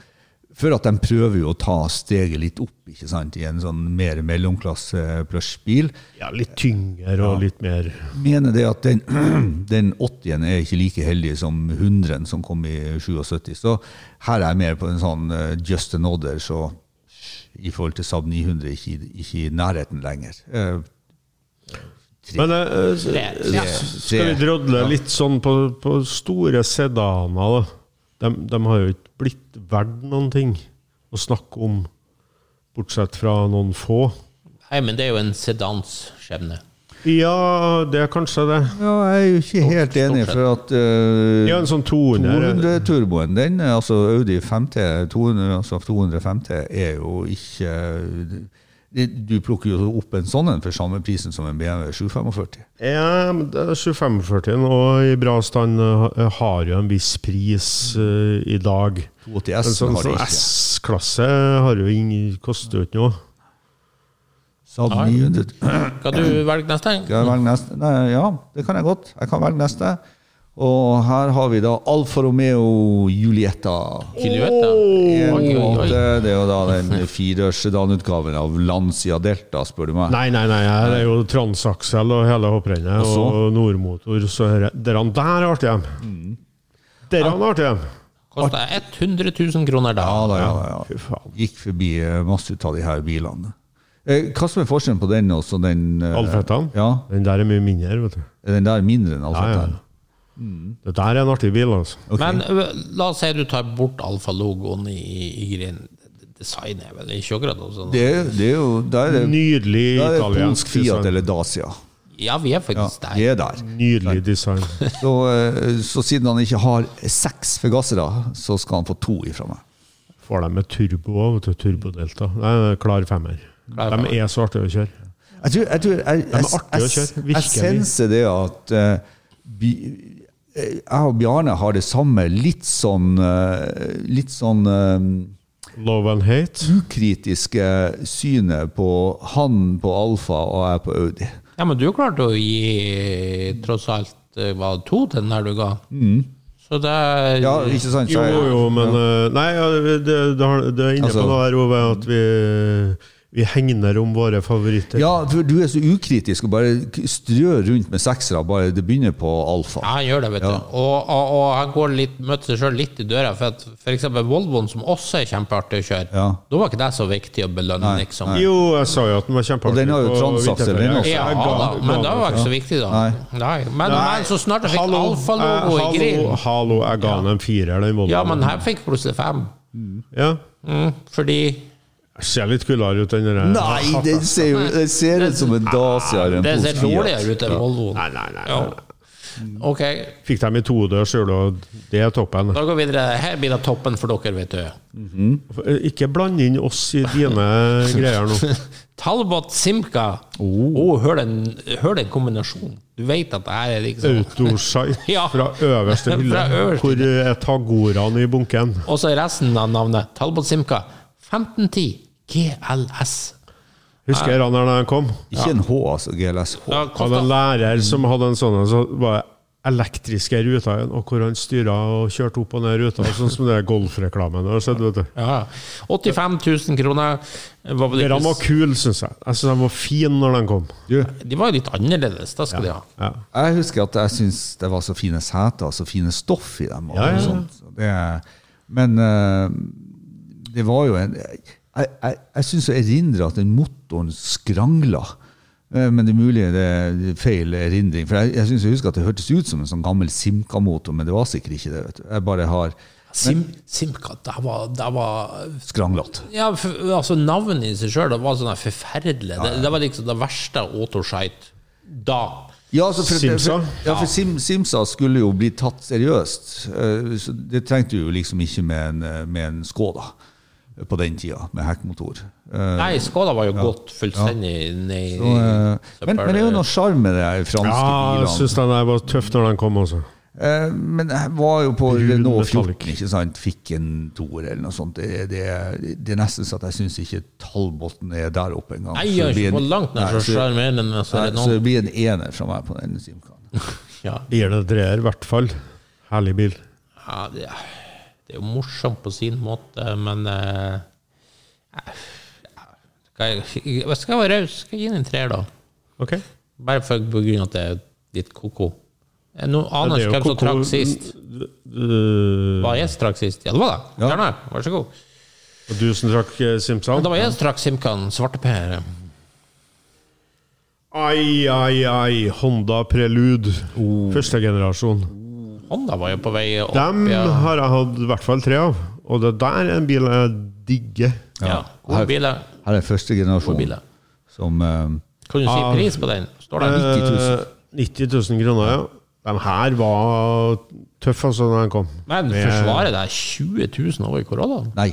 Speaker 3: for at de prøver jo å ta steget litt opp, ikke sant, i en sånn mer mellomklasse plush-bil.
Speaker 4: Ja, litt tyngre og litt mer
Speaker 3: Mener det at den, den 80-en er ikke like heldig som 100-en som kom i 77. Så her er jeg mer på en sånn eh, just another, så i forhold til Saab 900 ikke, i- ikke i nærheten lenger. Eh,
Speaker 4: Men eh, s-
Speaker 1: Tre. Ja.
Speaker 4: s- skal vi drodle litt sånn på, på store sedaner, da. De, de har jo ikke blitt verdt noen ting å snakke om, bortsett fra noen få.
Speaker 1: Nei, men det er jo en sedans skjebne.
Speaker 4: Ja, det er kanskje det.
Speaker 3: Ja, jeg er jo ikke helt enig,
Speaker 1: stort sett.
Speaker 3: for at eh,
Speaker 4: Ja, en sånn 200.
Speaker 3: 200 turboen, den, altså Audi 5T, 200, altså 250 er jo ikke eh, det- Du plukker jo opp en sånn en for samme prisen som en BMW 745.
Speaker 4: Ja, men det er 2540 og i bra stand eh, har jo en viss pris eh, i dag.
Speaker 3: 280
Speaker 4: En
Speaker 3: S
Speaker 4: sånn,
Speaker 3: har de
Speaker 4: sånn
Speaker 3: ikke.
Speaker 4: S-klasse har jo ingen, koster jo ikke noe.
Speaker 3: Saab
Speaker 1: Nei.
Speaker 3: 900
Speaker 1: Skal du velge neste?
Speaker 3: Skal jeg velge neste? Nei, ja, det kan jeg godt. Jeg kan velge neste. Og her har vi da Alfa Romeo Julietta.
Speaker 1: Kiluetta. Oi,
Speaker 3: En
Speaker 1: oi, oi.
Speaker 3: måte, det er jo da den firedørssedanutgaven av Lancia Delta, spør du meg.
Speaker 4: Nei, nei, nei, her er jo transaksel og hele hopprennet
Speaker 3: Og så?
Speaker 4: og nordmotor. Så her, der han der har artig hjem. Der han har artig hjem.
Speaker 1: Kosta 100 000 kroner da.
Speaker 3: Ja, da, ja, da, ja.
Speaker 4: Fy faen.
Speaker 3: Gikk forbi eh, masse ut av de her bilene. Eh, Hva som er forskjellen på den og så den eh,
Speaker 4: Alfettan.
Speaker 3: Ja,
Speaker 4: Den der er mye mindre, vet du.
Speaker 3: er den der mindre enn Alfa
Speaker 4: Ja, ja.
Speaker 3: Romeo?
Speaker 4: Det der er en artig bil, altså.
Speaker 1: Men ø, la oss si du tar bort alfalogoen i, i greien. Designet er vel ikke akkurat noe sånn.
Speaker 3: Det, er- det er jo der er,
Speaker 4: Nydelig
Speaker 3: der er
Speaker 4: italiensk
Speaker 3: polsk Fiat
Speaker 4: design.
Speaker 3: eller Dacia.
Speaker 1: Ja, vi er
Speaker 3: Ja,
Speaker 1: faktisk
Speaker 3: vi
Speaker 1: der.
Speaker 3: er der.
Speaker 4: Nydelig design.
Speaker 3: Så, eh, så siden han ikke har seks forgassere, så skal han få to ifra meg.
Speaker 4: Får dem med turbo òg, vet du. Turbodelta. Nei, nei, klar femmer.
Speaker 1: Klar
Speaker 4: de
Speaker 1: femmer.
Speaker 4: er så artige å kjøre.
Speaker 3: Jeg tror, jeg, tror, jeg,
Speaker 4: er
Speaker 3: jeg,
Speaker 4: artige å
Speaker 3: jeg,
Speaker 4: kjøre,
Speaker 3: jeg
Speaker 4: virkelig.
Speaker 3: senser det at eh, vi, eh, jeg og Bjarne har det samme, litt sånn, eh, litt sånn eh,
Speaker 4: Love and hate.
Speaker 3: ukritiske synet på han på Alfa og jeg på Audi.
Speaker 1: Ja, men du klarte å gi tross alt ø, var det to til den der du ga. Så det er
Speaker 3: Mm. Ja, ikke sant?
Speaker 4: Jo,
Speaker 3: Så jeg-
Speaker 4: jo, men eh, Nei, ja, det, det, har- det er inne
Speaker 3: Altså-
Speaker 4: på noe her, Ove, at vi, vi hegner om våre favoritter.
Speaker 3: Ja, for du er så ukritisk og bare k- strør rundt med seksere. Bare det begynner på
Speaker 1: Ja,
Speaker 3: Alfa.
Speaker 1: han gjør det, vet
Speaker 3: Ja.
Speaker 1: du. Og, og, og han går litt, møter seg sjøl litt i døra. For at for eksempel Volvoen, som også er kjempeartig å kjøre,
Speaker 3: Ja.
Speaker 1: da var ikke det så viktig å belønne,
Speaker 3: Nei,
Speaker 1: liksom.
Speaker 4: Jo, jeg sa jo at den var kjempeartig.
Speaker 3: Og den har jo
Speaker 4: på
Speaker 3: transaksel,
Speaker 4: vinterferie.
Speaker 3: den også.
Speaker 1: Ja,
Speaker 4: Jeg ga-
Speaker 1: da, men
Speaker 4: ga
Speaker 1: da
Speaker 4: den.
Speaker 1: var det ikke så viktig, da.
Speaker 3: Nei.
Speaker 1: Nei. Men,
Speaker 4: Nei,
Speaker 1: men så snart jeg fikk
Speaker 4: hallo,
Speaker 1: alfalogo
Speaker 4: eh,
Speaker 1: i
Speaker 4: hallo,
Speaker 1: grillen
Speaker 4: Hallo, jeg ga den en firer, den Volvoen.
Speaker 1: Ja, men her fikk jeg plutselig fem.
Speaker 4: Ja.
Speaker 1: Mm, fordi
Speaker 4: Jeg Ser litt kulere ut, den der.
Speaker 3: Nei, den ser, jo, den ser ut som en Dacia eller en
Speaker 1: det ser
Speaker 3: polsk Fiat.
Speaker 1: dårligere ut enn Volvoen.
Speaker 4: Nei, nei, nei.
Speaker 1: Ja. Ok,
Speaker 4: Fikk dem i todørs, gjør du, og det er toppen.
Speaker 1: da går vi videre. Her blir det toppen for dere, vet du.
Speaker 4: Ikke bland inn oss i dine greier nå.
Speaker 1: Talbot Simca.
Speaker 3: Oh.
Speaker 1: Å, hør, den, hør den kombinasjonen. Du vet at det her er liksom
Speaker 4: Autosight
Speaker 1: Ja.
Speaker 4: fra øverste hylle,
Speaker 1: Fra øverste
Speaker 4: hvor er tagorene i bunken?
Speaker 1: Og så resten av navnet. Talbot Simca 1510 GLS.
Speaker 4: Husker jeg han der da han kom?
Speaker 3: Ikke en H, altså. GLSH.
Speaker 1: Ja,
Speaker 4: Hadde en
Speaker 1: kostet,
Speaker 4: lærer som hadde en sånn en, så var det elektriske ruta igjen, og hvor han styra og kjørte opp og ned ruta, sånn som det er golfreklamen. du har sett, vet du.
Speaker 1: ja. 85 000 kroner. Var vel
Speaker 4: Dere var
Speaker 1: ikke,
Speaker 4: kule, syns jeg. Jeg syns de var fine når de kom.
Speaker 3: Du,
Speaker 1: de var jo litt annerledes, da skal de ha.
Speaker 4: Ja.
Speaker 3: jeg husker at jeg syns det var så fine seter og så fine stoff i dem. Og
Speaker 4: Ja, ja, ja.
Speaker 3: sånt. Så Det, men eh, det var jo en Jeg, jeg, jeg syns å erindre at den motoren skrangla. Eh, Men det er mulig det er feil erindring. For jeg, jeg syns jeg husker at det hørtes ut som en sånn gammel Simca-motor, men det var sikkert ikke det. vet du. Jeg bare har
Speaker 1: Sim, Simca, det var, det var
Speaker 3: skranglet.
Speaker 1: Ja, for, altså Navnet i seg sjøl var sånn her forferdelig. Det, det var liksom det verste autoshite da.
Speaker 3: Ja, altså, for,
Speaker 4: Simsa?
Speaker 3: For, ja, for Sim, Simsa skulle jo bli tatt seriøst. eh, Så det trengte du jo liksom ikke med en, eh, med en Skoda eh, på den tida, med hekkmotor. Eh,
Speaker 1: Nei, Skoda var jo gått fullstendig ned i
Speaker 3: og, eh, Men, men det er jo noe sjarm med de her franske
Speaker 4: Mm. Ja, jeg
Speaker 3: bilene.
Speaker 4: syns de der var tøffe når de kom, altså. også.
Speaker 3: Eh, Men jeg var jo på
Speaker 4: Brun
Speaker 3: Renault
Speaker 4: metallic.
Speaker 3: 14, ikke sant? fikk en toer eller noe sånt. Det, det, det er nesten så at jeg syns ikke Tallbotn er der oppe engang.
Speaker 1: Nei,
Speaker 3: Så
Speaker 1: jeg
Speaker 3: det
Speaker 1: er
Speaker 3: blir
Speaker 1: ikke
Speaker 3: en-
Speaker 1: på langt nær så
Speaker 3: Nei, så-
Speaker 1: sjarmerende som
Speaker 3: nei, Så
Speaker 1: Renault.
Speaker 3: det blir en ener fra meg på den Simcaen.
Speaker 1: Ja.
Speaker 4: Gir det en treer, i hvert fall. Herlig bil.
Speaker 1: Ja, det, det er jo morsomt på sin måte, men eh, jeg, jeg, jeg skal være raus. Skal jeg gi den en treer, da?
Speaker 4: Ok.
Speaker 1: Bare for på grunn av at det er litt ko-ko. Eh, Nå aner jeg ikke hvem som trakk sist.
Speaker 4: Uh,
Speaker 1: Var jeg som trakk sist? Ja, det var det.
Speaker 3: Ja.
Speaker 1: Bjarne, vær så god.
Speaker 4: du som trakk eh, Simpson?
Speaker 1: Men det var jeg som trakk Simkan svarteper.
Speaker 4: Ai, ai, ai. Honda Prelude. Første generasjon.
Speaker 1: Honda var jo på vei opp.
Speaker 4: Dem
Speaker 1: ja.
Speaker 4: har jeg hatt i hvert fall tre av. Og det der er en bil jeg digger.
Speaker 1: ja. Gode biler.
Speaker 3: Her er første generasjon
Speaker 1: Gode biler.
Speaker 3: som eh,
Speaker 1: Kan du si
Speaker 4: Ja.
Speaker 1: pris på den? Står det?
Speaker 3: 90 000.
Speaker 4: Eh, 90 000 kroner, ja. De her var tøffe altså da de kom.
Speaker 1: Men
Speaker 4: Med-
Speaker 1: forsvaret det er 20 000 over Corollaen?
Speaker 3: Nei.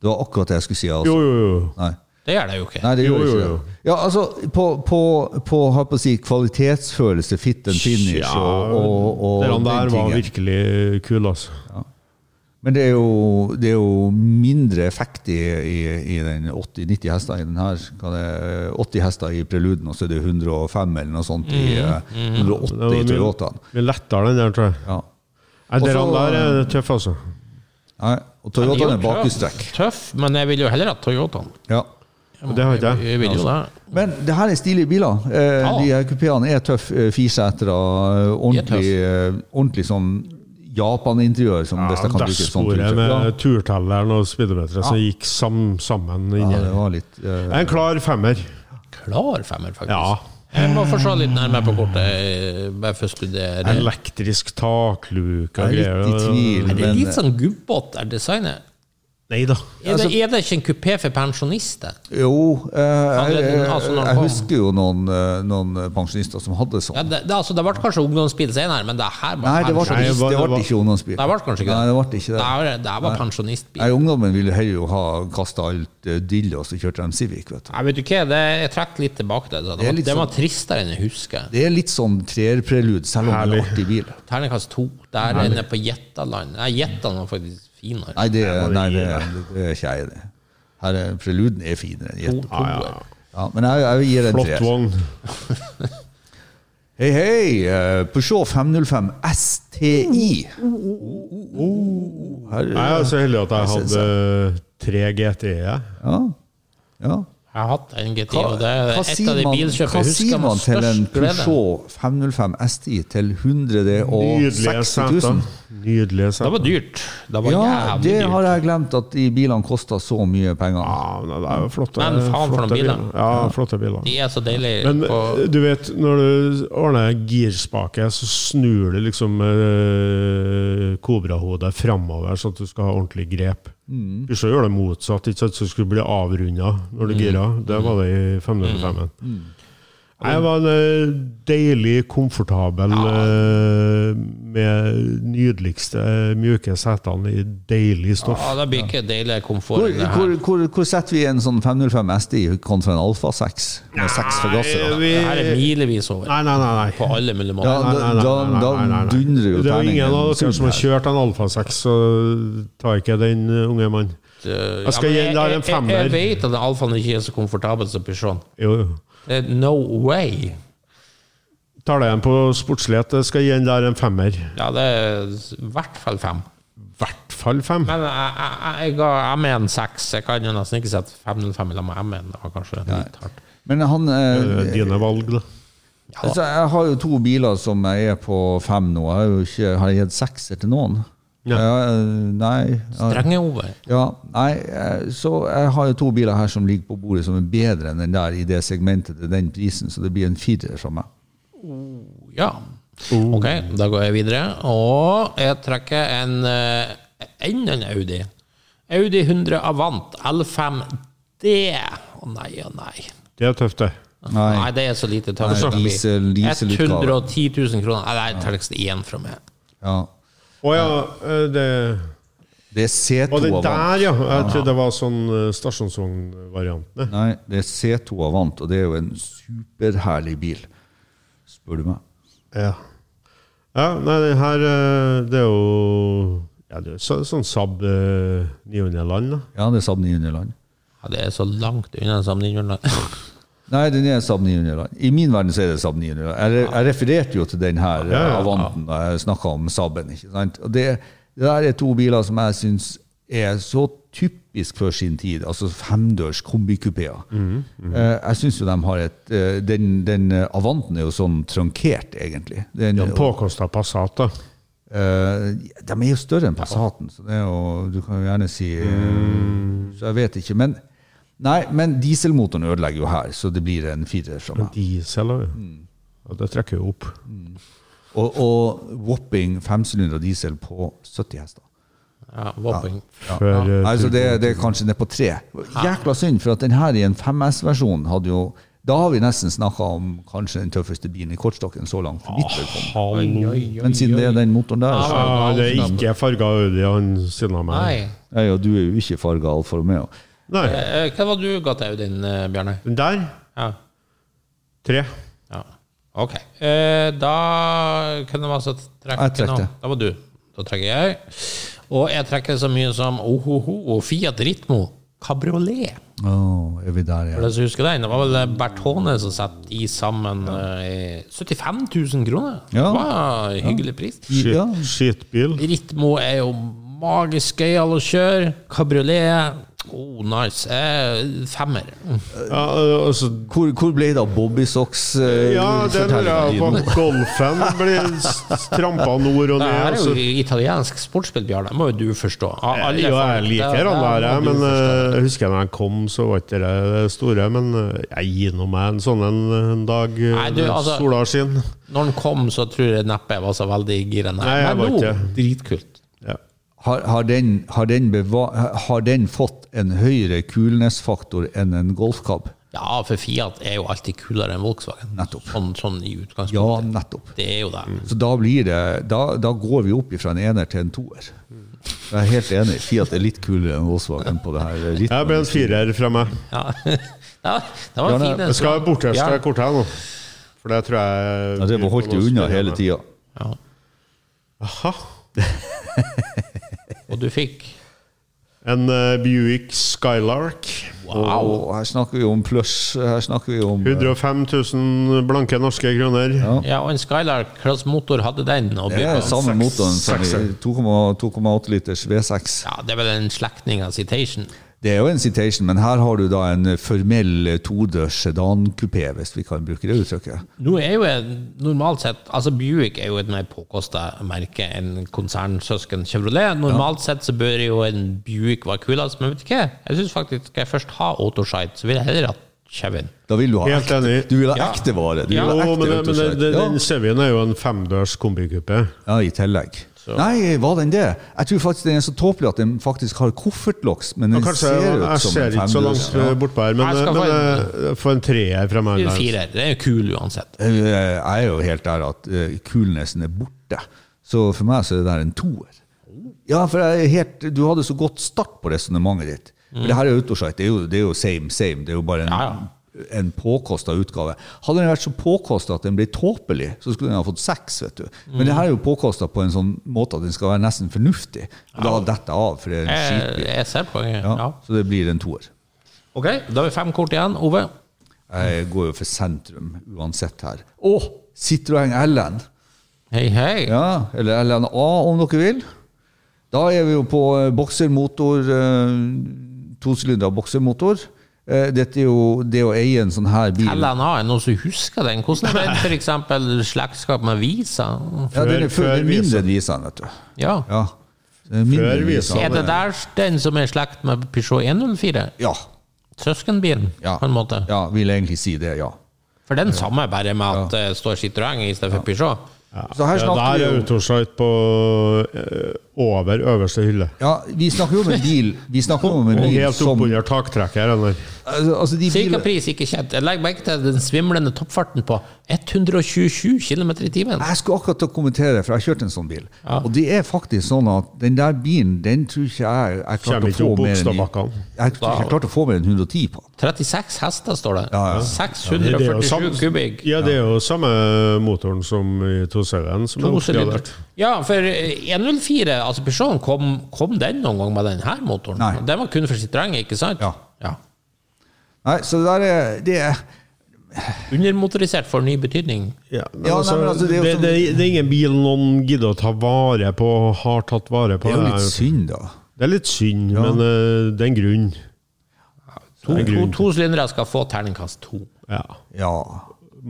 Speaker 3: Det var akkurat det jeg skulle si. Altså.
Speaker 4: Jo, jo, jo.
Speaker 3: Nei.
Speaker 1: Det gjør det jo ikke.
Speaker 3: Nei, det
Speaker 4: Jo,
Speaker 3: gjorde
Speaker 4: jo,
Speaker 3: ikke
Speaker 4: jo.
Speaker 3: det. Ja, altså, på, på, på, har på å si, kvalitetsfølelse, fit and finish
Speaker 4: Ja,
Speaker 3: og, og, og
Speaker 4: den der var
Speaker 3: tingen.
Speaker 4: virkelig kul, altså.
Speaker 3: Men det er jo, det er jo mindre effekt i, i, i den 80-90 hester i den her. Hva det er, 80 hester i preluden, og så er det 105 eller noe sånt i eh, 180 i
Speaker 4: Det var mye,
Speaker 3: Toyotaen.
Speaker 4: mye lettere, den der, tror jeg.
Speaker 3: Ja.
Speaker 4: Nei,
Speaker 3: Og
Speaker 4: der,
Speaker 3: så-
Speaker 4: der er tøff, altså.
Speaker 3: Nei, og Toyotaen er bakhjulstrekk.
Speaker 1: Tøff, men jeg vil jo heller ha Toyotaen.
Speaker 3: Ja.
Speaker 4: Det har ikke jeg.
Speaker 1: Jeg
Speaker 3: Altså.
Speaker 1: vil jo det.
Speaker 3: Men det her er stilige biler. Eh,
Speaker 1: Ja.
Speaker 3: De her kupeene er tøff eh, firesetere. eh, Ordentlig, eh, ordentlig sånn Japan-interiør, som hvis jeg kan bruke sånn et sånt
Speaker 4: Dashbordet
Speaker 3: uttrykk.
Speaker 4: med
Speaker 3: Ja.
Speaker 4: turtelleren og speedometeret som gikk sam, sammen inni
Speaker 3: ja, det
Speaker 4: der.
Speaker 3: var litt eh,
Speaker 4: En klar femmer.
Speaker 1: Klar femmer, faktisk.
Speaker 4: Ja.
Speaker 1: Jeg må få se litt nærmere på kortet, eh, bare for å studere.
Speaker 4: Elektrisk takluke og
Speaker 3: Jeg er
Speaker 4: greier.
Speaker 3: litt i tvil,
Speaker 1: Er det
Speaker 3: men
Speaker 1: litt sånn gubbete er designet?
Speaker 4: Nei da.
Speaker 1: Er
Speaker 3: Altså-
Speaker 1: det, er det ikke en kupé for pensjonister?
Speaker 3: Jo, eh, jeg,
Speaker 1: det er den, altså,
Speaker 3: jeg,
Speaker 1: når den
Speaker 3: jeg
Speaker 1: kom.
Speaker 3: husker jo noen, eh, noen pensjonister som hadde
Speaker 1: Ja,
Speaker 3: sånn.
Speaker 1: det, det, altså, det ble kanskje ungdomsbil senere, men det her var
Speaker 3: Nei, det ble,
Speaker 1: pensjonist.
Speaker 4: det
Speaker 3: ikke-
Speaker 4: var-
Speaker 3: det
Speaker 4: det
Speaker 3: ble
Speaker 4: var-
Speaker 3: ikke
Speaker 1: Det
Speaker 3: ungdomsbil.
Speaker 1: ble kanskje ikke
Speaker 3: Nei, det ble ikke
Speaker 1: Det
Speaker 3: det.
Speaker 1: her- det her var pensjonistbil.
Speaker 3: Nei, ungdommen ville heller jo ha kasta alt eh, dillet, og så kjørte de Civic. vet du.
Speaker 1: Nei, vet du hva, det, jeg trekker litt tilbake det. Det
Speaker 3: er
Speaker 1: var,
Speaker 3: litt
Speaker 1: det var
Speaker 3: sånn-
Speaker 1: tristere enn jeg husker.
Speaker 3: Det er litt sånn treerprelud, selv om det er en artig bil.
Speaker 1: Terningkast to. Der er nede på Jettaland. Nei, Jettene var faktisk finere.
Speaker 3: Nei, det, nei, det, det er ikke jeg, det. Her er, preluden er finere
Speaker 1: To,
Speaker 3: enn Jetta.
Speaker 1: to,
Speaker 3: Ja, men jeg, jeg gir en
Speaker 4: Flott
Speaker 3: treer.
Speaker 4: vogn.
Speaker 3: Hei, hei! eh, Peugeot 505 STI. Oh, Her,
Speaker 4: Jeg er så heldig at jeg hadde tre E. GTE.
Speaker 3: ja. ja.
Speaker 1: Jeg har hatt en GT,
Speaker 3: Hva,
Speaker 1: og det er
Speaker 3: hva
Speaker 1: et
Speaker 3: sier
Speaker 1: av de
Speaker 3: man,
Speaker 1: bilkjøpene
Speaker 3: hva
Speaker 1: jeg
Speaker 3: sier
Speaker 1: husker
Speaker 3: man
Speaker 1: med
Speaker 3: til en
Speaker 1: størst glede.
Speaker 3: Peugeot 505 STI til 160
Speaker 4: Nydelige seter.
Speaker 3: 000?
Speaker 4: Nydelige
Speaker 1: Det
Speaker 4: seter.
Speaker 1: var dyrt. Det var
Speaker 3: Ja,
Speaker 1: jævlig
Speaker 3: det
Speaker 1: dyrt.
Speaker 3: har jeg glemt, at de bilene kosta så mye penger.
Speaker 4: Ja, men det er jo flotte,
Speaker 1: Men faen for noen
Speaker 4: flotte
Speaker 1: biler.
Speaker 4: Ja, flotte biler.
Speaker 1: De er så deilige.
Speaker 4: Men eh,
Speaker 1: på,
Speaker 4: du vet, når du ordner girspake, så snur du liksom eh, kobrahodet framover, sånn at du skal ha ordentlig grep.
Speaker 1: Mm.
Speaker 4: Peugeot gjør det motsatt, ikke sant? så du skulle bli avrunda når du gira. Det var det i 505-en.
Speaker 1: Mm.
Speaker 4: Nei, Det var en eh, deilig, komfortabel eh, med nydeligste eh, mjuke setene i deilig stoff.
Speaker 1: ja, det blir ikke deilig komfort.
Speaker 3: Hvor,
Speaker 1: i det her.
Speaker 3: hvor, hvor, hvor setter vi en sånn 505 STI kontra en Alfa 6 med seks forgassere?
Speaker 4: vi,
Speaker 1: Det her er milevis over.
Speaker 4: Nei, nei, nei. nei.
Speaker 1: På alle mulige
Speaker 3: Ja,
Speaker 1: måter.
Speaker 3: da,
Speaker 4: nei, nei,
Speaker 3: da,
Speaker 4: nei,
Speaker 3: da
Speaker 4: nei, nei, nei.
Speaker 3: dundrer jo
Speaker 4: Det er jo
Speaker 3: terningen
Speaker 4: ingen av dere
Speaker 3: sund
Speaker 4: som har
Speaker 3: her.
Speaker 4: kjørt en Alfa 6, så ta ikke den uh, unge mann.
Speaker 1: Eh,
Speaker 4: Jeg skal
Speaker 1: ja,
Speaker 4: gi
Speaker 1: men jeg-
Speaker 4: deg en
Speaker 1: jeg- Jeg
Speaker 4: femmer.
Speaker 1: vet at Alfaen ikke er så komfortabel som Peugeot.
Speaker 4: Jo, jo.
Speaker 1: Det er no way.
Speaker 4: Tar deg igjen på sportslighet, jeg skal gi den der en femmer.
Speaker 1: Ja, det er i hvert fall fem.
Speaker 4: I hvert fall fem.
Speaker 1: Men jeg, jeg, jeg, jeg ga M1 seks. Jeg kan jo nesten ikke sette 505 i lag med M1. Det var kanskje litt hardt.
Speaker 3: Men han
Speaker 4: Det
Speaker 3: eh,
Speaker 4: er Dine valg, da.
Speaker 3: altså, Jeg har jo to biler som jeg er på fem nå. Jeg har jo ikke Har jeg gitt sekser til noen?
Speaker 4: Ja.
Speaker 3: Ja, eh, nei. Ja,
Speaker 1: Strenge over.
Speaker 3: ja, nei eh, så jeg har jo to biler her som ligger på bordet som er bedre enn den der i det segmentet til den prisen, så det blir en firer fra meg.
Speaker 1: Ja.
Speaker 3: Mm.
Speaker 1: Ok, da går jeg videre. Og jeg trekker en eh, enda en Audi. Audi 100 Avant L5D. Å nei, å nei.
Speaker 4: Det er tøft, det.
Speaker 3: Nei.
Speaker 1: Nei, det er så lite tøft.
Speaker 3: Nei, diesel- dieselutgave.
Speaker 1: 110 000 kroner. Nei, det er terningkast én fra meg.
Speaker 3: Ja.
Speaker 4: Å ja, eh, det
Speaker 3: Det er C2
Speaker 4: Å, den
Speaker 3: Avant.
Speaker 4: der, ja. Jeg trodde det var sånn eh, stasjonsvognvariantene.
Speaker 3: Nei, det er C2 Avant, og det er jo en superherlig bil, spør du meg.
Speaker 4: Ja. ja. Nei, den her, eh, det er jo ja, det er så, sånn Saab eh, 900 land, da.
Speaker 3: Ja, det er Saab 900 land.
Speaker 1: Ja, det er så langt unna sammenligningen.
Speaker 3: Nei, den er Saab 900. da. I min verden så er det Saab 900. da. Jeg, jeg refererte jo til den her
Speaker 4: ja, ja.
Speaker 3: Avanten da jeg snakka om Saaben. ikke sant? Og det, det der er to biler som jeg syns er så typisk for sin tid, altså femdørs kombikupeer.
Speaker 4: Mhm,
Speaker 3: Eh, Jeg syns jo de har et eh, Den, den eh, Avanten er jo sånn trankert, egentlig. Den,
Speaker 4: Ja, Påkosta Passat, da.
Speaker 3: Eh, de er jo større enn Passaten, så det er jo, du kan jo gjerne si eh, Så jeg vet ikke. Men, nei, men dieselmotoren ødelegger jo her, så det blir en firer fra meg.
Speaker 4: Diesel òg. Og det trekker jo opp.
Speaker 3: Og, og whopping femsylinder diesel på 70 hester.
Speaker 1: Ja, våpen.
Speaker 4: Før, eh,
Speaker 3: Nei, så det, det er kanskje ned på tre. Jækla synd, for at den her i en 5S-versjon hadde jo Da har vi nesten snakka om kanskje den tøffeste bilen i kortstokken så langt. for mitt vedkommende.
Speaker 4: Hallo.
Speaker 3: Men siden det er den motoren der, så
Speaker 4: Ja, det er ikke farga Audi han siden av meg.
Speaker 1: Nei.
Speaker 3: Nei, og du er jo ikke farga Alfa Romeo.
Speaker 4: Nei.
Speaker 1: Eh, Hva var du ga til Audien, eh, Bjarne?
Speaker 4: Den der
Speaker 1: Ja.
Speaker 4: tre.
Speaker 1: ja. Ok. Eh, Da kunne man altså trekke
Speaker 3: Jeg trekte.
Speaker 1: nå. Da var du. Da trekker jeg. Og jeg trekker så mye som Ohoho og Fiat Ritmo kabriolet.
Speaker 3: Åh, er vi
Speaker 1: For
Speaker 3: der igjen?
Speaker 1: de som husker den, det var vel Bertone som satte i sammen eh, 75 000 kroner.
Speaker 3: Ja.
Speaker 1: Det var en hyggelig pris.
Speaker 4: Skit,
Speaker 3: Ja.
Speaker 4: Skitbil.
Speaker 1: Ritmo er jo magisk gøyal å kjøre. Kabriolet oh, nice. Eh, femmer.
Speaker 4: Ja, altså,
Speaker 3: Hvor, hvor ble det av Bobby Socks? eh,
Speaker 4: ja, det lurer jeg på.
Speaker 3: fortellingen din?
Speaker 4: Golfen blir s- trampa nord og
Speaker 1: Det
Speaker 4: ned.
Speaker 1: her er jo
Speaker 4: Altså.
Speaker 1: italiensk sportsspill, Bjarne. Det må jo du forstå. Av alle
Speaker 4: Jo, jeg
Speaker 1: folk-
Speaker 4: liker
Speaker 1: det-
Speaker 4: han
Speaker 1: det
Speaker 4: der,
Speaker 1: må
Speaker 4: jeg,
Speaker 1: du
Speaker 4: men
Speaker 1: forstå.
Speaker 4: eh, jeg husker da jeg kom, så var ikke det det store. Men eh, jeg gir nå meg en sånn en, en dag eh,
Speaker 1: Nei, du, altså-
Speaker 4: sola skinner.
Speaker 1: Når den kom, så tror jeg neppe jeg var så veldig gira. Nei,
Speaker 4: Nei, jeg
Speaker 1: Men
Speaker 4: var
Speaker 1: nå,
Speaker 4: ikke.
Speaker 1: dritkult.
Speaker 4: Ja.
Speaker 3: Har, har, den, har, den beva- har den fått en høyere kulnesfaktor enn en golfkab?
Speaker 1: Ja, for Fiat er jo alltid kulere enn Volkswagen.
Speaker 3: Nettopp.
Speaker 1: Sånn, sånn i
Speaker 3: Ja,
Speaker 1: utgangspunktet.
Speaker 3: nettopp.
Speaker 1: Det er jo det.
Speaker 3: Så da, blir det, da, da går vi opp fra en ener til en toer. Jeg er helt enig. Fiat er litt kulere enn Volkswagen på det her. eh, Litt.
Speaker 4: Jeg ble en firer fra meg.
Speaker 1: Ja. ja, det var
Speaker 3: Bjarne,
Speaker 1: fint.
Speaker 4: Jeg skal borteste
Speaker 1: Ja.
Speaker 4: kortet her nå. For det tror jeg eh,
Speaker 3: Ja, det var holdt jeg unna hele tida.
Speaker 1: Ja.
Speaker 4: Aha.
Speaker 1: Og du fikk
Speaker 4: En eh, Buick Skylark.
Speaker 3: Og her snakker vi om plush. Her snakker vi om
Speaker 4: 105 000 blanke norske kroner.
Speaker 1: Ja, og en Skylark, hva slags motor hadde den? å by
Speaker 3: eh, det er
Speaker 1: på?
Speaker 3: samme
Speaker 4: Seks-
Speaker 3: motoren som i
Speaker 4: sekser.
Speaker 3: 2,8 liters V6.
Speaker 1: Ja, det er vel en slektning av Citation.
Speaker 3: Det er jo en Citation, men her har du da en formell todørs sedankupé, hvis vi kan bruke det uttrykket.
Speaker 1: Nå er jo en- normalt sett Altså Buick er jo et mer påkosta merke enn konsernsøsken Chevrolet. Normalt sett så bør jo en Buick være kulest, men vet du hva? Jeg syns faktisk skal jeg først ha Autoshite, så vil jeg heller ha Chevyen.
Speaker 3: Da vil du ha
Speaker 4: Helt
Speaker 3: ekte,
Speaker 4: enig.
Speaker 3: du vil ha
Speaker 1: Ja.
Speaker 3: ekte vare. Du
Speaker 1: Ja,
Speaker 3: vil ha
Speaker 4: Jo,
Speaker 3: ekte altså.
Speaker 4: men, det- men det-
Speaker 3: autosite.
Speaker 4: det-
Speaker 3: Ja.
Speaker 4: den Chevyen er jo en femdørs kombikuppe.
Speaker 3: Ja, i tillegg. Nei, var den det? Jeg tror faktisk den er så tåpelig at den faktisk har koffertlokks, men
Speaker 4: Ja,
Speaker 3: den
Speaker 4: kanskje,
Speaker 3: ser ut
Speaker 4: jeg
Speaker 3: som
Speaker 4: ser
Speaker 3: en
Speaker 4: ikke så
Speaker 3: femdørs.
Speaker 4: langt
Speaker 3: Ja.
Speaker 4: eh, bortpå her, men,
Speaker 1: Jeg skal
Speaker 4: men
Speaker 1: få
Speaker 4: eh, få en treer fra meg.
Speaker 1: Det er en
Speaker 4: Lars.
Speaker 1: firer. Det er jo kul uansett.
Speaker 3: Eh, Jeg er jo helt der at eh, kulnesen er borte. Så for meg så er det der en toer. Ja, for jeg er helt, du hadde så godt start på resonnementet ditt. For det her er autosite, det er jo, det er jo same, same. Det er jo bare en,
Speaker 1: Ja, ja.
Speaker 3: en påkosta utgave. Hadde den vært så påkosta at den ble tåpelig, så skulle den ha fått seks, vet du. Men det her er jo påkosta på en sånn måte at den skal være nesten fornuftig. Og da detter jeg av, for det er en
Speaker 1: Jeg,
Speaker 3: skitbil.
Speaker 1: jeg ser poenget.
Speaker 3: Ja,
Speaker 1: Eh, Ja.
Speaker 3: Så det blir en toer.
Speaker 1: Ok, da har vi fem kort igjen. Ove?
Speaker 3: Jeg går jo for sentrum uansett her. Å! Citroën LN.
Speaker 1: Hei, hei.
Speaker 3: Ja, eller LNA om dere vil. Da er vi jo på eh, boksermotor, eh, tosylinder boksermotor. Eh, Dette er jo det å eie en sånn her bil.
Speaker 1: LNA, er det noen som husker den? Hvordan er den f.eks. slektskap med Visa?
Speaker 3: Ja, den er
Speaker 4: Før-
Speaker 3: før,
Speaker 4: før
Speaker 3: den er mindre enn Visan, vet du.
Speaker 1: Ja.
Speaker 3: Ja. den er mindre enn
Speaker 4: Visan.
Speaker 1: Er
Speaker 3: Visan.
Speaker 1: det der den som er i slekt med Peugeot 104?
Speaker 3: Ja.
Speaker 1: Søskenbilen,
Speaker 3: Ja.
Speaker 1: på en måte?
Speaker 3: ja, vil egentlig si det, ja.
Speaker 1: For den samme, bare med at det står Citroën i stedet for Peugeot.
Speaker 3: Så her
Speaker 4: Ja,
Speaker 3: snakker
Speaker 4: der
Speaker 3: vi
Speaker 4: er
Speaker 3: jo
Speaker 4: autosite på eh, over øverste hylle.
Speaker 3: ja, vi snakker jo om en bil Vi snakker jo om en
Speaker 4: Og
Speaker 3: bil
Speaker 4: helt
Speaker 3: som
Speaker 4: oppunder taktrekker. Eller?
Speaker 3: altså, altså de
Speaker 1: Cirka
Speaker 3: biler,
Speaker 1: pris ikke kjent. Jeg legger merke til den svimlende toppfarten på 127 km i timen.
Speaker 3: Jeg skulle akkurat til å kommentere, for jeg har kjørt en sånn bil. Og det er faktisk sånn at den der bilen, den tror ikke jeg jeg klarte
Speaker 4: Kjem
Speaker 3: å
Speaker 4: ikke
Speaker 3: få
Speaker 4: opp
Speaker 3: mer enn jeg tror
Speaker 4: Bogstadbakkene.
Speaker 3: ikke jeg klarte å få mer enn 110 på.
Speaker 1: 36 hester, står det.
Speaker 3: Ja, ja.
Speaker 4: Det er jo samme-
Speaker 1: 647 kubikk.
Speaker 4: Ja, det er jo samme motoren som i 2CV-en. Som er
Speaker 1: Tosylinder.
Speaker 4: oppgradert.
Speaker 1: Ja, for eh, 104, altså Peugeoten, kom, kom den noen gang med denne motoren?
Speaker 3: Nei.
Speaker 1: Den var kun for sitt terreng, ikke sant?
Speaker 3: Ja.
Speaker 1: ja.
Speaker 3: Nei, så det der er, det er
Speaker 1: Undermotorisert får ny betydning.
Speaker 4: Ja,
Speaker 3: Ja,
Speaker 4: men
Speaker 3: nei,
Speaker 4: altså,
Speaker 3: men altså,
Speaker 4: det,
Speaker 3: det er jo
Speaker 4: det,
Speaker 3: som-
Speaker 4: det er ingen bil noen gidder å ta vare på, har tatt vare på.
Speaker 3: Det er jo litt synd, da.
Speaker 4: det er litt synd, men eh, det er en grunn.
Speaker 1: To,
Speaker 4: Det er
Speaker 1: to,
Speaker 4: grunn.
Speaker 1: to sylindere skal få terningkast to.
Speaker 4: Ja.
Speaker 3: Ja.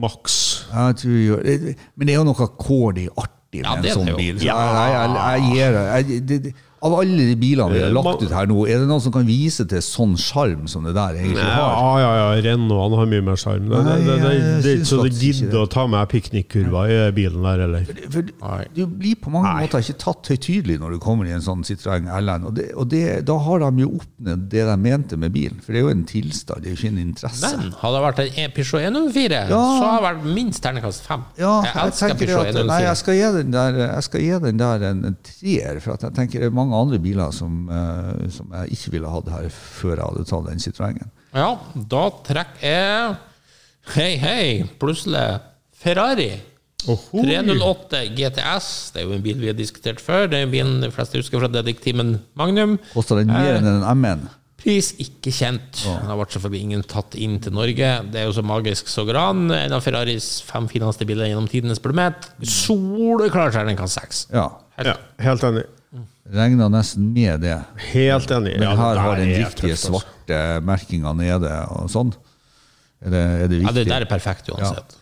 Speaker 4: Maks.
Speaker 3: Jeg tror jo det- Men det er jo noe kålig artig med
Speaker 1: Ja, det er
Speaker 3: en sånn
Speaker 1: det jo.
Speaker 3: bil. Så jeg,
Speaker 1: Ja.
Speaker 3: jeg, jeg, jeg gir jeg, det, det, Av alle de bilene
Speaker 4: Eh,
Speaker 3: vi har lagt ut her nå, er det noen som kan vise til sånn sjarm som det der egentlig
Speaker 4: Ja,
Speaker 3: har?
Speaker 4: ja, ja. Renaulten har mye mer sjarm. Det, det, det, det, det,
Speaker 3: Nei, jeg
Speaker 4: er ikke så
Speaker 3: syns
Speaker 4: det
Speaker 3: faktisk ikke
Speaker 4: gidder å ta med piknikkurva i bilen der, eller?
Speaker 3: For du blir på mange måter ikke tatt høytidelig når du kommer i en sånn Citroën LN. Og, det, og det, da har de jo oppnådd det de mente med bilen, for det er jo en tilstand, det er jo ikke en interesse.
Speaker 1: Men hadde det vært en E- Peugeot 104, så hadde det vært minst terningkast fem.
Speaker 3: ja,
Speaker 1: jeg
Speaker 3: jeg
Speaker 1: elsker
Speaker 3: tenker det
Speaker 1: Peugeot
Speaker 3: at, nei,
Speaker 1: 104.
Speaker 3: jeg skal gi den der, jeg skal gi den der en, en treer, for at jeg tenker det er mange andre biler som, eh, som jeg ikke ville hatt her før jeg hadde tatt den Citroën-en.
Speaker 1: Ja, da trekker jeg Hei, hei, plutselig Ferrari.
Speaker 4: Ohoi.
Speaker 1: 308 GTS, det er jo en bil vi har diskutert før. Det er bilen de fleste husker fra detektimen Magnum.
Speaker 3: Koster den
Speaker 1: Eh.
Speaker 3: mer enn en M1?
Speaker 1: Pris ikke kjent. Den har vært selvfølgelig ingen tatt inn til Norge. Det er jo så magisk så gran. En av Ferraris fem fineste biler gjennom tidenes planet. Soleklar terningkast seks.
Speaker 3: Mm. Ja.
Speaker 4: Ja, helt enig.
Speaker 3: Regna nesten med det.
Speaker 4: Helt enig.
Speaker 3: Men
Speaker 4: Ja,
Speaker 3: her
Speaker 4: det
Speaker 3: har
Speaker 4: der
Speaker 3: den
Speaker 4: er
Speaker 3: riktige
Speaker 4: tøft, altså.
Speaker 3: svarte merkinga nede og sånn. Er det, er det
Speaker 1: Ja, det
Speaker 3: viktig?
Speaker 1: der er perfekt uansett.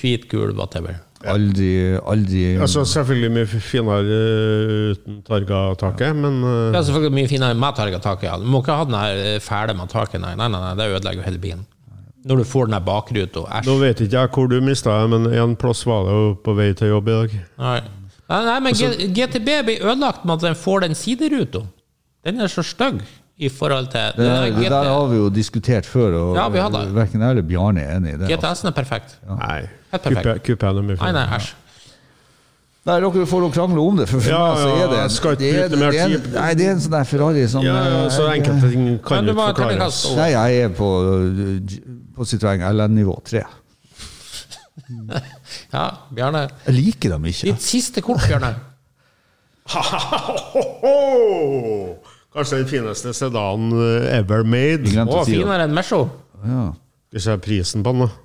Speaker 1: Hvit, gul, whatever.
Speaker 3: Aldri, aldri
Speaker 4: Altså Selvfølgelig mye finere eh, uten targa-taket, men eh,
Speaker 1: Det er selvfølgelig mye finere med tak i taket. Ja. Du må ikke ha den her eh, fæle med taket, nei. Nei, nei, nei, det ødelegger jo hele bilen. Når du får den der bakruta,
Speaker 4: nå
Speaker 1: æsj.
Speaker 4: vet ikke jeg hvor du mista det, men en plass var det jo på vei til jobb i dag.
Speaker 1: Nei. Nei, nei, men G- GTB blir ødelagt med at den får den sideruta. Den er så stygg i forhold til
Speaker 3: Det,
Speaker 1: den der
Speaker 3: det der har vi jo diskutert før, og
Speaker 1: Ja, vi har det.
Speaker 3: verken jeg eller Bjarne er enig i det. altså.
Speaker 1: GTS-en er perfekt.
Speaker 4: Nei.
Speaker 1: Helt perfekt.
Speaker 4: Coupé- Coupéen er mye
Speaker 1: Nei, nei,
Speaker 4: finere.
Speaker 1: æsj.
Speaker 3: Nei, dere får noe krangle om det, for for
Speaker 4: Ja,
Speaker 3: meg så
Speaker 4: ja,
Speaker 3: er det
Speaker 4: jeg skal ikke
Speaker 3: det er-
Speaker 4: bruke mer
Speaker 3: det er en-
Speaker 4: tid.
Speaker 3: Nei, det er en sånn der Ferrari som
Speaker 4: Ja, ja, så
Speaker 3: eh,
Speaker 4: enkelte ting kan
Speaker 1: Men du
Speaker 4: jo ikke
Speaker 1: må ha
Speaker 4: forklares.
Speaker 1: terningkast
Speaker 3: Nei, jeg er på, eh, på Citroën LN-nivå 3.
Speaker 1: Ja, Bjarne.
Speaker 3: Jeg liker dem ikke.
Speaker 1: Ditt siste kort, Bjarne.
Speaker 4: Ho-ho-ho! Kanskje den fineste sedanen eh, ever made.
Speaker 3: Vi glemte
Speaker 1: Å,
Speaker 3: å si det.
Speaker 1: finere enn Mesho.
Speaker 3: Ja.
Speaker 4: Skal vi se prisen på den, da.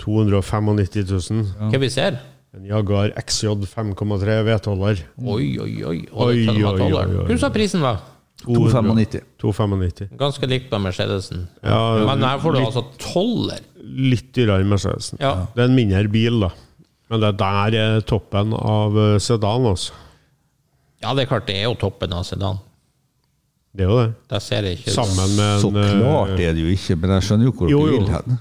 Speaker 4: 295 000.
Speaker 1: Hva vi ser?
Speaker 4: En Jaguar XJ 5,3 vedholder.
Speaker 1: Oi, oi, oi. Og
Speaker 4: Oi,
Speaker 1: det er
Speaker 4: oi, oi, oi, oi.
Speaker 1: Hva sa prisen var?
Speaker 3: 295.
Speaker 4: 295.
Speaker 1: Ganske likt med Mercedesen.
Speaker 4: Ja,
Speaker 1: Men her får du
Speaker 4: litt-
Speaker 1: altså tolver.
Speaker 4: Litt dyrere enn Mercedesen.
Speaker 1: Ja.
Speaker 4: Det er en mindre bil, da. Men det der er toppen av eh, sedan, altså.
Speaker 1: Ja, det er klart, det er jo toppen av sedan.
Speaker 4: Det er jo det.
Speaker 1: Der ser jeg ikke
Speaker 4: Sammen med
Speaker 3: Så
Speaker 4: en eh,
Speaker 3: klart er det jo ikke, men jeg skjønner jo hvor
Speaker 4: Jo,
Speaker 3: dere
Speaker 4: jo.
Speaker 3: vil hen.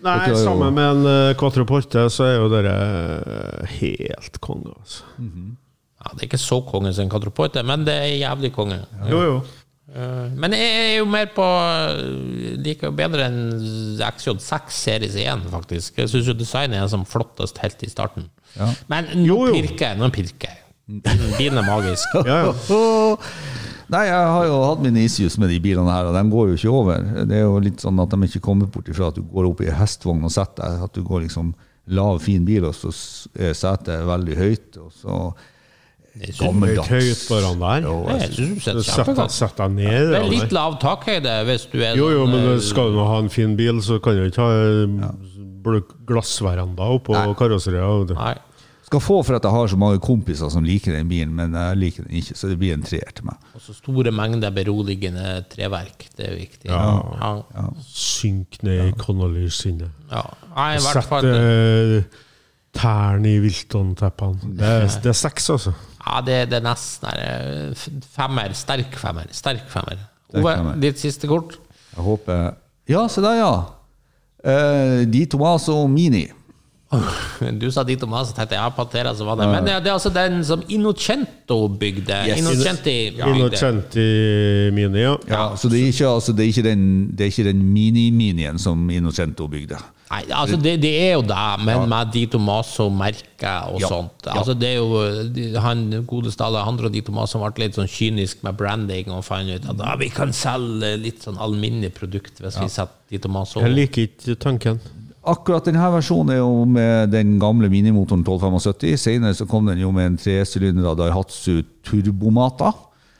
Speaker 4: Nei,
Speaker 3: Dette er jo-
Speaker 4: sammen med en eh, Quattro Porte, så er jo dere eh, helt konge, altså.
Speaker 1: ja, Det er ikke så konge som Katropoite, men det er jævlig konge.
Speaker 4: Jo, jo.
Speaker 1: Eh, Men jeg er jo mer på eh, Liker jo bedre enn XJ6 Series 1, faktisk. Jeg syns jo designet er som flottest helt i starten.
Speaker 3: Ja.
Speaker 1: Men nå
Speaker 4: Jo, jo.
Speaker 1: pirker jeg, nå pirker jeg. Bilen er magisk.
Speaker 4: Ja, ja.
Speaker 3: Nei, jeg har jo hatt min isjus med de bilene her, og de går jo ikke over. Det er jo litt sånn at de ikke kommer bort ifra at du går opp i en hestvogn og setter deg. At du går liksom lav, fin bil, og så s- er setet veldig høyt, og så
Speaker 1: Jeg synes-
Speaker 3: Gammeldags.
Speaker 4: Høyt, høyt foran der.
Speaker 3: Jo, jeg
Speaker 1: jeg synes du setter
Speaker 4: Du Sett deg,
Speaker 1: kjempegodt.
Speaker 4: sett deg ned.
Speaker 1: Det er
Speaker 4: Ronny.
Speaker 1: litt lav takhøyde hvis du er
Speaker 4: Jo, jo,
Speaker 1: sånn,
Speaker 4: men
Speaker 1: eh,
Speaker 4: skal du nå ha en fin bil, så kan du ikke ha blå- glassveranda oppå karosseriet.
Speaker 1: eh, Nei.
Speaker 3: Skal få for at jeg har så mange kompiser som liker den bilen, men jeg liker den ikke, så det blir en treer til meg.
Speaker 1: Og så store mengder beroligende treverk. Det er jo viktig. Ja. ja.
Speaker 4: Synk ned i Connolly-skinnet.
Speaker 1: Nei, i hvert
Speaker 4: Sett
Speaker 1: fall
Speaker 4: eh, tærne i Wilton-teppene. Det, er- det er seks, altså.
Speaker 1: ja, det, det er nesten her, eh, f- femmer. Sterk femmer. Sterk femmer.
Speaker 3: Sterk
Speaker 1: Ove,
Speaker 3: femmer.
Speaker 1: ditt siste kort?
Speaker 3: Jeg håper Ja, se der, ja! Eh, Di Tomaso Mini.
Speaker 1: Du sa dit om så tenkte jeg ja, Pantera, så var det Men det, det er altså den som Innocento bygde.
Speaker 3: Yes.
Speaker 1: Innocenti bygde.
Speaker 4: Innocenti Mini, ja.
Speaker 3: Ja, så det er ikke, altså, det er ikke den, det er ikke den mini-minien som Innocento bygde.
Speaker 1: Nei, altså det, det er jo det, men med Di Tomaso-merket og
Speaker 3: Ja.
Speaker 1: sånt. Altså det er jo de- han godeste Alejandro Di Tomaso ble litt sånn kynisk med branding og fant ut at ah, vi kan selge litt sånn alminnelig produkt hvis vi setter Di Tomaso
Speaker 4: Jeg liker ikke tanken.
Speaker 3: Akkurat denne versjonen er jo med den gamle minimotoren 1275. Senere så kom den jo med en tresylinder Daihatsu Turbomata,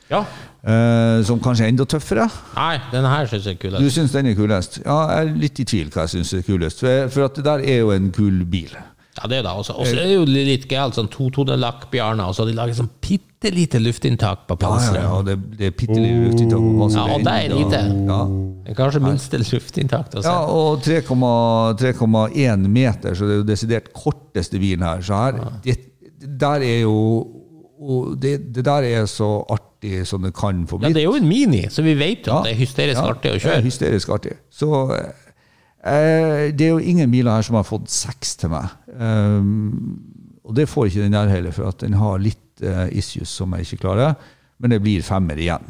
Speaker 1: Ja.
Speaker 3: eh, som kanskje er enda tøffere.
Speaker 1: Nei, den her syns jeg er kul. altså.
Speaker 3: Du syns den er kulest? Ja, jeg er litt i tvil hva jeg syns er kulest, for, for at det der er jo en kul bil.
Speaker 1: Ja, det er jo det også. Og så er det jo litt gøyalt sånn to-tone-lakk Bjarne, og så har de lager sånn bitte lite luftinntak på
Speaker 3: Ja, ja,
Speaker 1: panseret.
Speaker 3: ja, det, det er bitte lite luftinntak på panseret.
Speaker 1: Ja, og det er lite.
Speaker 3: Ja.
Speaker 1: Det er kanskje minste luftinntak.
Speaker 3: Ja,
Speaker 1: Ja.
Speaker 3: og 3,1 meter, så det er jo desidert korteste bilen her. Så her, det, det der er jo og det, det der er så artig som det kan få
Speaker 1: ja,
Speaker 3: blitt.
Speaker 1: det er jo en mini, så vi vet jo at det er hysterisk
Speaker 3: Ja,
Speaker 1: artig å
Speaker 3: Det er
Speaker 1: kjøre.
Speaker 3: hysterisk artig. Så eh, det er jo ingen biler her som har fått seks til meg. Um, og det får ikke den der heller, for at den har litt eh, issues som jeg ikke klarer. Men det blir femmer igjen.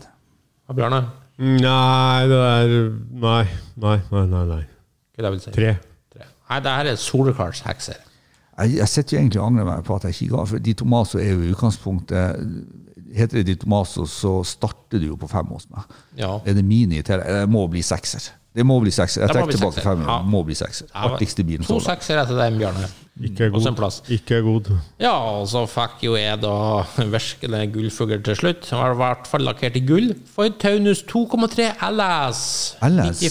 Speaker 1: Ja, Bjarne,
Speaker 4: Nei, det er Nei, nei, nei. nei,
Speaker 1: hva
Speaker 4: nei.
Speaker 1: er det jeg vil si?
Speaker 4: Tre.
Speaker 1: Tre. Nei, det her er soleklars hekser.
Speaker 3: Jeg, jeg sitter jo egentlig og angrer meg på at jeg ikke ga, for Di Tomaso er jo i utgangspunktet Heter det Di Tomaso, så starter du jo på fem hos meg.
Speaker 1: Ja.
Speaker 3: Er det mini til Jeg må bli sekser. Det må bli sekser.
Speaker 1: Det
Speaker 3: Jeg
Speaker 1: må
Speaker 3: trekker
Speaker 1: bli
Speaker 3: tilbake
Speaker 1: sekser.
Speaker 3: fem.
Speaker 1: Ja.
Speaker 3: Må bli sekser. Artigste bilen.
Speaker 1: To
Speaker 3: så langt.
Speaker 1: seksere til deg, Bjarne.
Speaker 4: Ikke
Speaker 1: Også
Speaker 4: god.
Speaker 1: Mm. en plass.
Speaker 4: Ikke god.
Speaker 1: Ja, og så fikk jo jeg da virkelig gullfugl til slutt. Den var i hvert fall lakkert i gull for Taunus 2,3 LS.
Speaker 3: LS?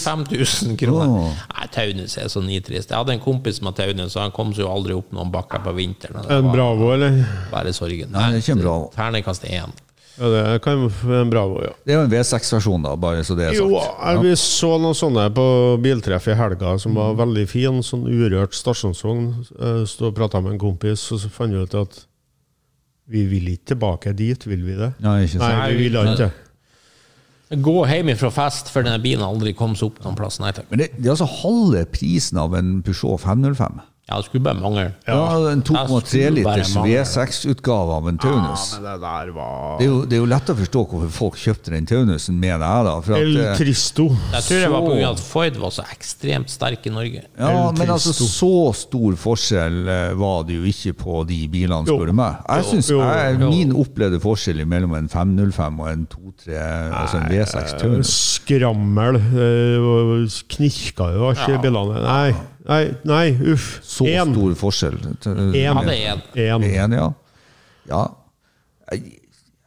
Speaker 1: 95 000 kroner.
Speaker 3: Åh.
Speaker 1: Nei, Taunus er så nitrist. Jeg hadde en kompis med Taunus, og han kom seg jo aldri opp noen bakker på vinteren. og det
Speaker 4: En
Speaker 1: var
Speaker 4: Bravo, eller?
Speaker 1: Bare sorgen.
Speaker 3: Nei, det er ikke en Bravo.
Speaker 1: Terningkast én.
Speaker 4: Ja, det kan en Bravo, ja.
Speaker 3: Det er jo en V6-versjon, da, bare så det er
Speaker 4: Jo,
Speaker 3: sagt.
Speaker 4: jeg- vi så noen sånne på biltreff i helga som var veldig fin. Sånn urørt stasjonsvogn. Eh, Stod og prata med en kompis, og så fant vi ut at vi vil ikke tilbake dit, vil vi det?
Speaker 3: Nei, ikke sant.
Speaker 4: Nei, vi vil ikke.
Speaker 1: Gå hjem fra fest før denne bilen aldri kom seg opp noen plass. Nei takk.
Speaker 3: Men det, det er altså halve prisen av en Peugeot 505.
Speaker 1: Ja, det skulle bare mangle.
Speaker 3: Ja, En
Speaker 1: Jeg
Speaker 3: 2,3
Speaker 1: skulle bare
Speaker 3: liters
Speaker 1: mangle.
Speaker 3: V6-utgave av en Taunus.
Speaker 4: Ja, men det der var
Speaker 3: Det er, jo, det er jo lett å forstå hvorfor folk kjøpte den Taunusen, mener jeg. da for
Speaker 4: El
Speaker 3: at, eh,
Speaker 4: Tristo.
Speaker 1: Jeg tror det var
Speaker 3: Så-
Speaker 1: pga. at Ford var så ekstremt sterk i Norge.
Speaker 3: ja,
Speaker 4: El
Speaker 3: Men altså,
Speaker 4: Tristo.
Speaker 3: så stor forskjell eh, var det jo ikke på de bilene,
Speaker 4: Jo.
Speaker 3: spør du meg. Jeg
Speaker 4: Jo,
Speaker 3: synes
Speaker 4: jo,
Speaker 3: jeg,
Speaker 4: jo.
Speaker 3: Min opplevde forskjell mellom en 505 og en 23, altså en V6
Speaker 4: eh,
Speaker 3: Taunus
Speaker 4: Skrammel. eh, og Knirka jo ikke bilene. Nei, nei, nei uff.
Speaker 3: Så
Speaker 4: En.
Speaker 3: stor forskjell.
Speaker 4: En.
Speaker 1: Ja, det er en.
Speaker 4: En.
Speaker 3: En, ja. ja. Jeg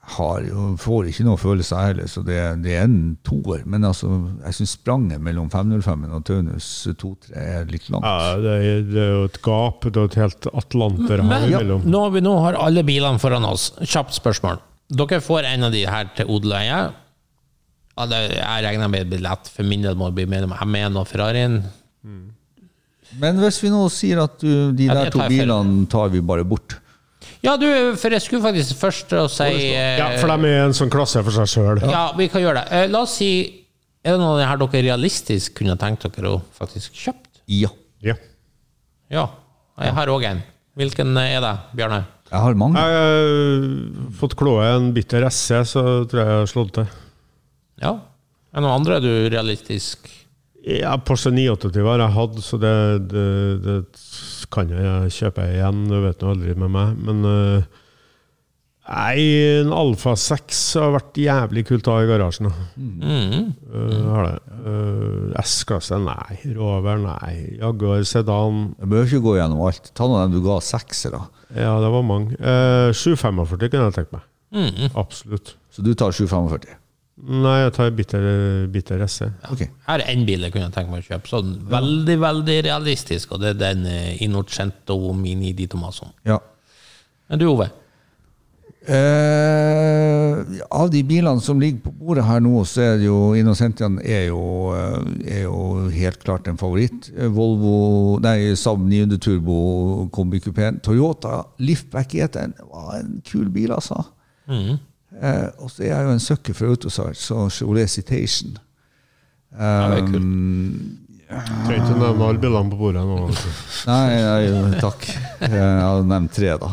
Speaker 3: har jo, får ikke noe følelse jeg heller, så det, det er en toer. Men altså, jeg syns spranget mellom 505-en og Taunus 23 er litt langt.
Speaker 4: Ja, det, er, det er jo et gap. Det er et helt Atlanterhav
Speaker 1: Men
Speaker 4: imellom.
Speaker 1: nå, har vi, nå har alle bilene foran oss. Kjapt spørsmål. Dere får en av de her til odel og eie. Ja, det- Jeg regner med billett, for min del må det bli mellom M1 og Ferrarien.
Speaker 3: Men hvis vi nå sier at du, de
Speaker 1: Ja,
Speaker 3: der
Speaker 1: det
Speaker 3: to
Speaker 1: tar jeg feil.
Speaker 3: bilene tar vi bare bort
Speaker 1: Ja, du, for jeg skulle faktisk først å si eh,
Speaker 4: Ja, for de er en sånn klasse for seg sjøl.
Speaker 1: Ja, vi kan gjøre det. Eh, La oss si Er det noen her dere realistisk kunne tenkt dere å faktisk kjøpt?
Speaker 3: Ja.
Speaker 4: Ja.
Speaker 1: Ja. Jeg har òg en. Hvilken er det, Bjarne?
Speaker 3: Jeg har
Speaker 4: Jeg
Speaker 3: mange.
Speaker 4: har fått klåe en bitter SC, så tror jeg jeg har slått til.
Speaker 1: Ja. Er det noen andre du realistisk
Speaker 4: Ja, Porsche 928 har jeg hatt, så det, det, det kan jeg kjøpe igjen. Du vet nå aldri med meg. Men eh, nei, en Alfa 6 har vært jævlig kult å ha i garasjen. da. Eh, har det. Eh, S-klasse, nei. Rover, nei. Jaguar Sedan,
Speaker 3: Jeg behøver ikke gå gjennom alt. Ta nå dem du ga seksere.
Speaker 4: ja, det var mange. Eh, 745 kunne jeg tenkt meg. Absolutt.
Speaker 3: Så du tar 745.
Speaker 4: Nei, jeg tar bitter, bitter SC.
Speaker 3: Ok.
Speaker 1: Her er én bil jeg kunne tenke meg å kjøpe. Sånn veldig, veldig realistisk, og det er den eh, Innocento Mini Di Tomaso.
Speaker 3: Ja.
Speaker 1: Men du, Ove?
Speaker 3: Eh, av de bilene som ligger på bordet her nå, så er det jo Innocentian er jo, eh, er jo helt klart en favoritt. Eh, Volvo, nei, Saab 900 Turbo kombikupeen. Toyota Liftback E10 var en kul bil, altså. Eh, og så er jeg jo en sucker for Autosart, så Chevrolet Citation.
Speaker 1: Ja, det er kult.
Speaker 4: Trenger ikke nevne alle bilene på bordet nå. altså.
Speaker 3: Nei, nei takk. Eh, Jeg hadde nevnt tre, da.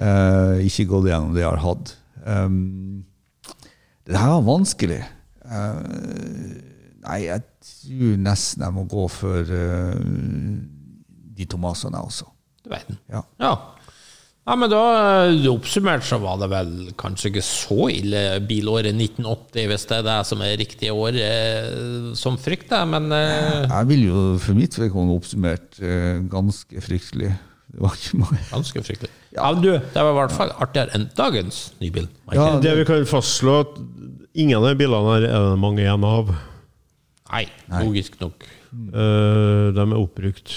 Speaker 3: Eh, ikke gått gjennom det jeg har hatt. Um, det her var vanskelig. Eh, nei, jeg tror nesten jeg må gå for eh, de Tomasene, jeg også.
Speaker 1: Du vet den.
Speaker 3: Ja.
Speaker 1: Ja. ja, men da eh, oppsummert så var det vel kanskje ikke så ille bilåret 1980, hvis det er det som er riktige år eh, som frykter, men eh,
Speaker 3: Jeg vil jo for mitt vedkommende oppsummert eh, ganske fryktelig. Det var ikke mange.
Speaker 1: ganske fryktelig. Ja, men du, det var i hvert fall artigere enn dagens nybil.
Speaker 3: Ja,
Speaker 4: Det vi kan fastslå, at ingen av de bilene her er det mange igjen av.
Speaker 1: Nei, logisk nok.
Speaker 4: Eh, de er oppbrukt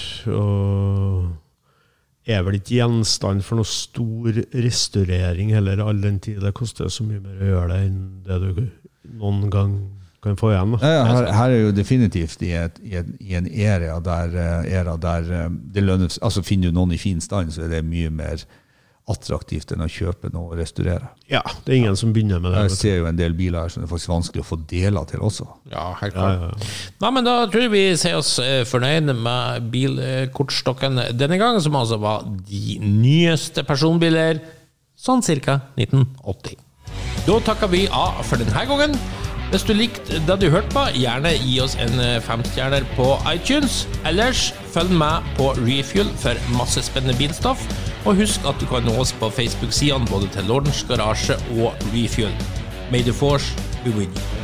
Speaker 4: og er vel ikke gjenstand for noe stor restaurering heller, all den tid det koster så mye mer å gjøre det enn det du noen gang kan få igjen. Da.
Speaker 3: Ja, ja, her, her er jo definitivt i, et, i, en, i en era der, eh, era der eh, det lønnes, altså finner du noen i fin stand, så er det mye mer attraktivt enn å kjøpe noe og restaurere.
Speaker 4: Ja, det er ingen som begynner med det.
Speaker 3: Jeg
Speaker 4: vet du.
Speaker 3: ser jo en del biler her som det er faktisk vanskelig å få deler til også.
Speaker 1: Ja, helt
Speaker 4: Ja,
Speaker 1: klart.
Speaker 4: ja, ja.
Speaker 1: Nei, men da tror jeg vi sier oss eh, fornøyd med bilkortstokken denne gang, som altså var de nyeste personbiler, sånn ca. 1980. Da takker vi av for denne gangen. Hvis du likte det du hørte på, gjerne gi oss en eh, femstjerner på iTunes. Ellers følg med på Refuel for masse spennende bilstoff. Og husk at du kan nå oss på Facebook-sidene både til Lordens Garasje og Refuel. May the force be with you.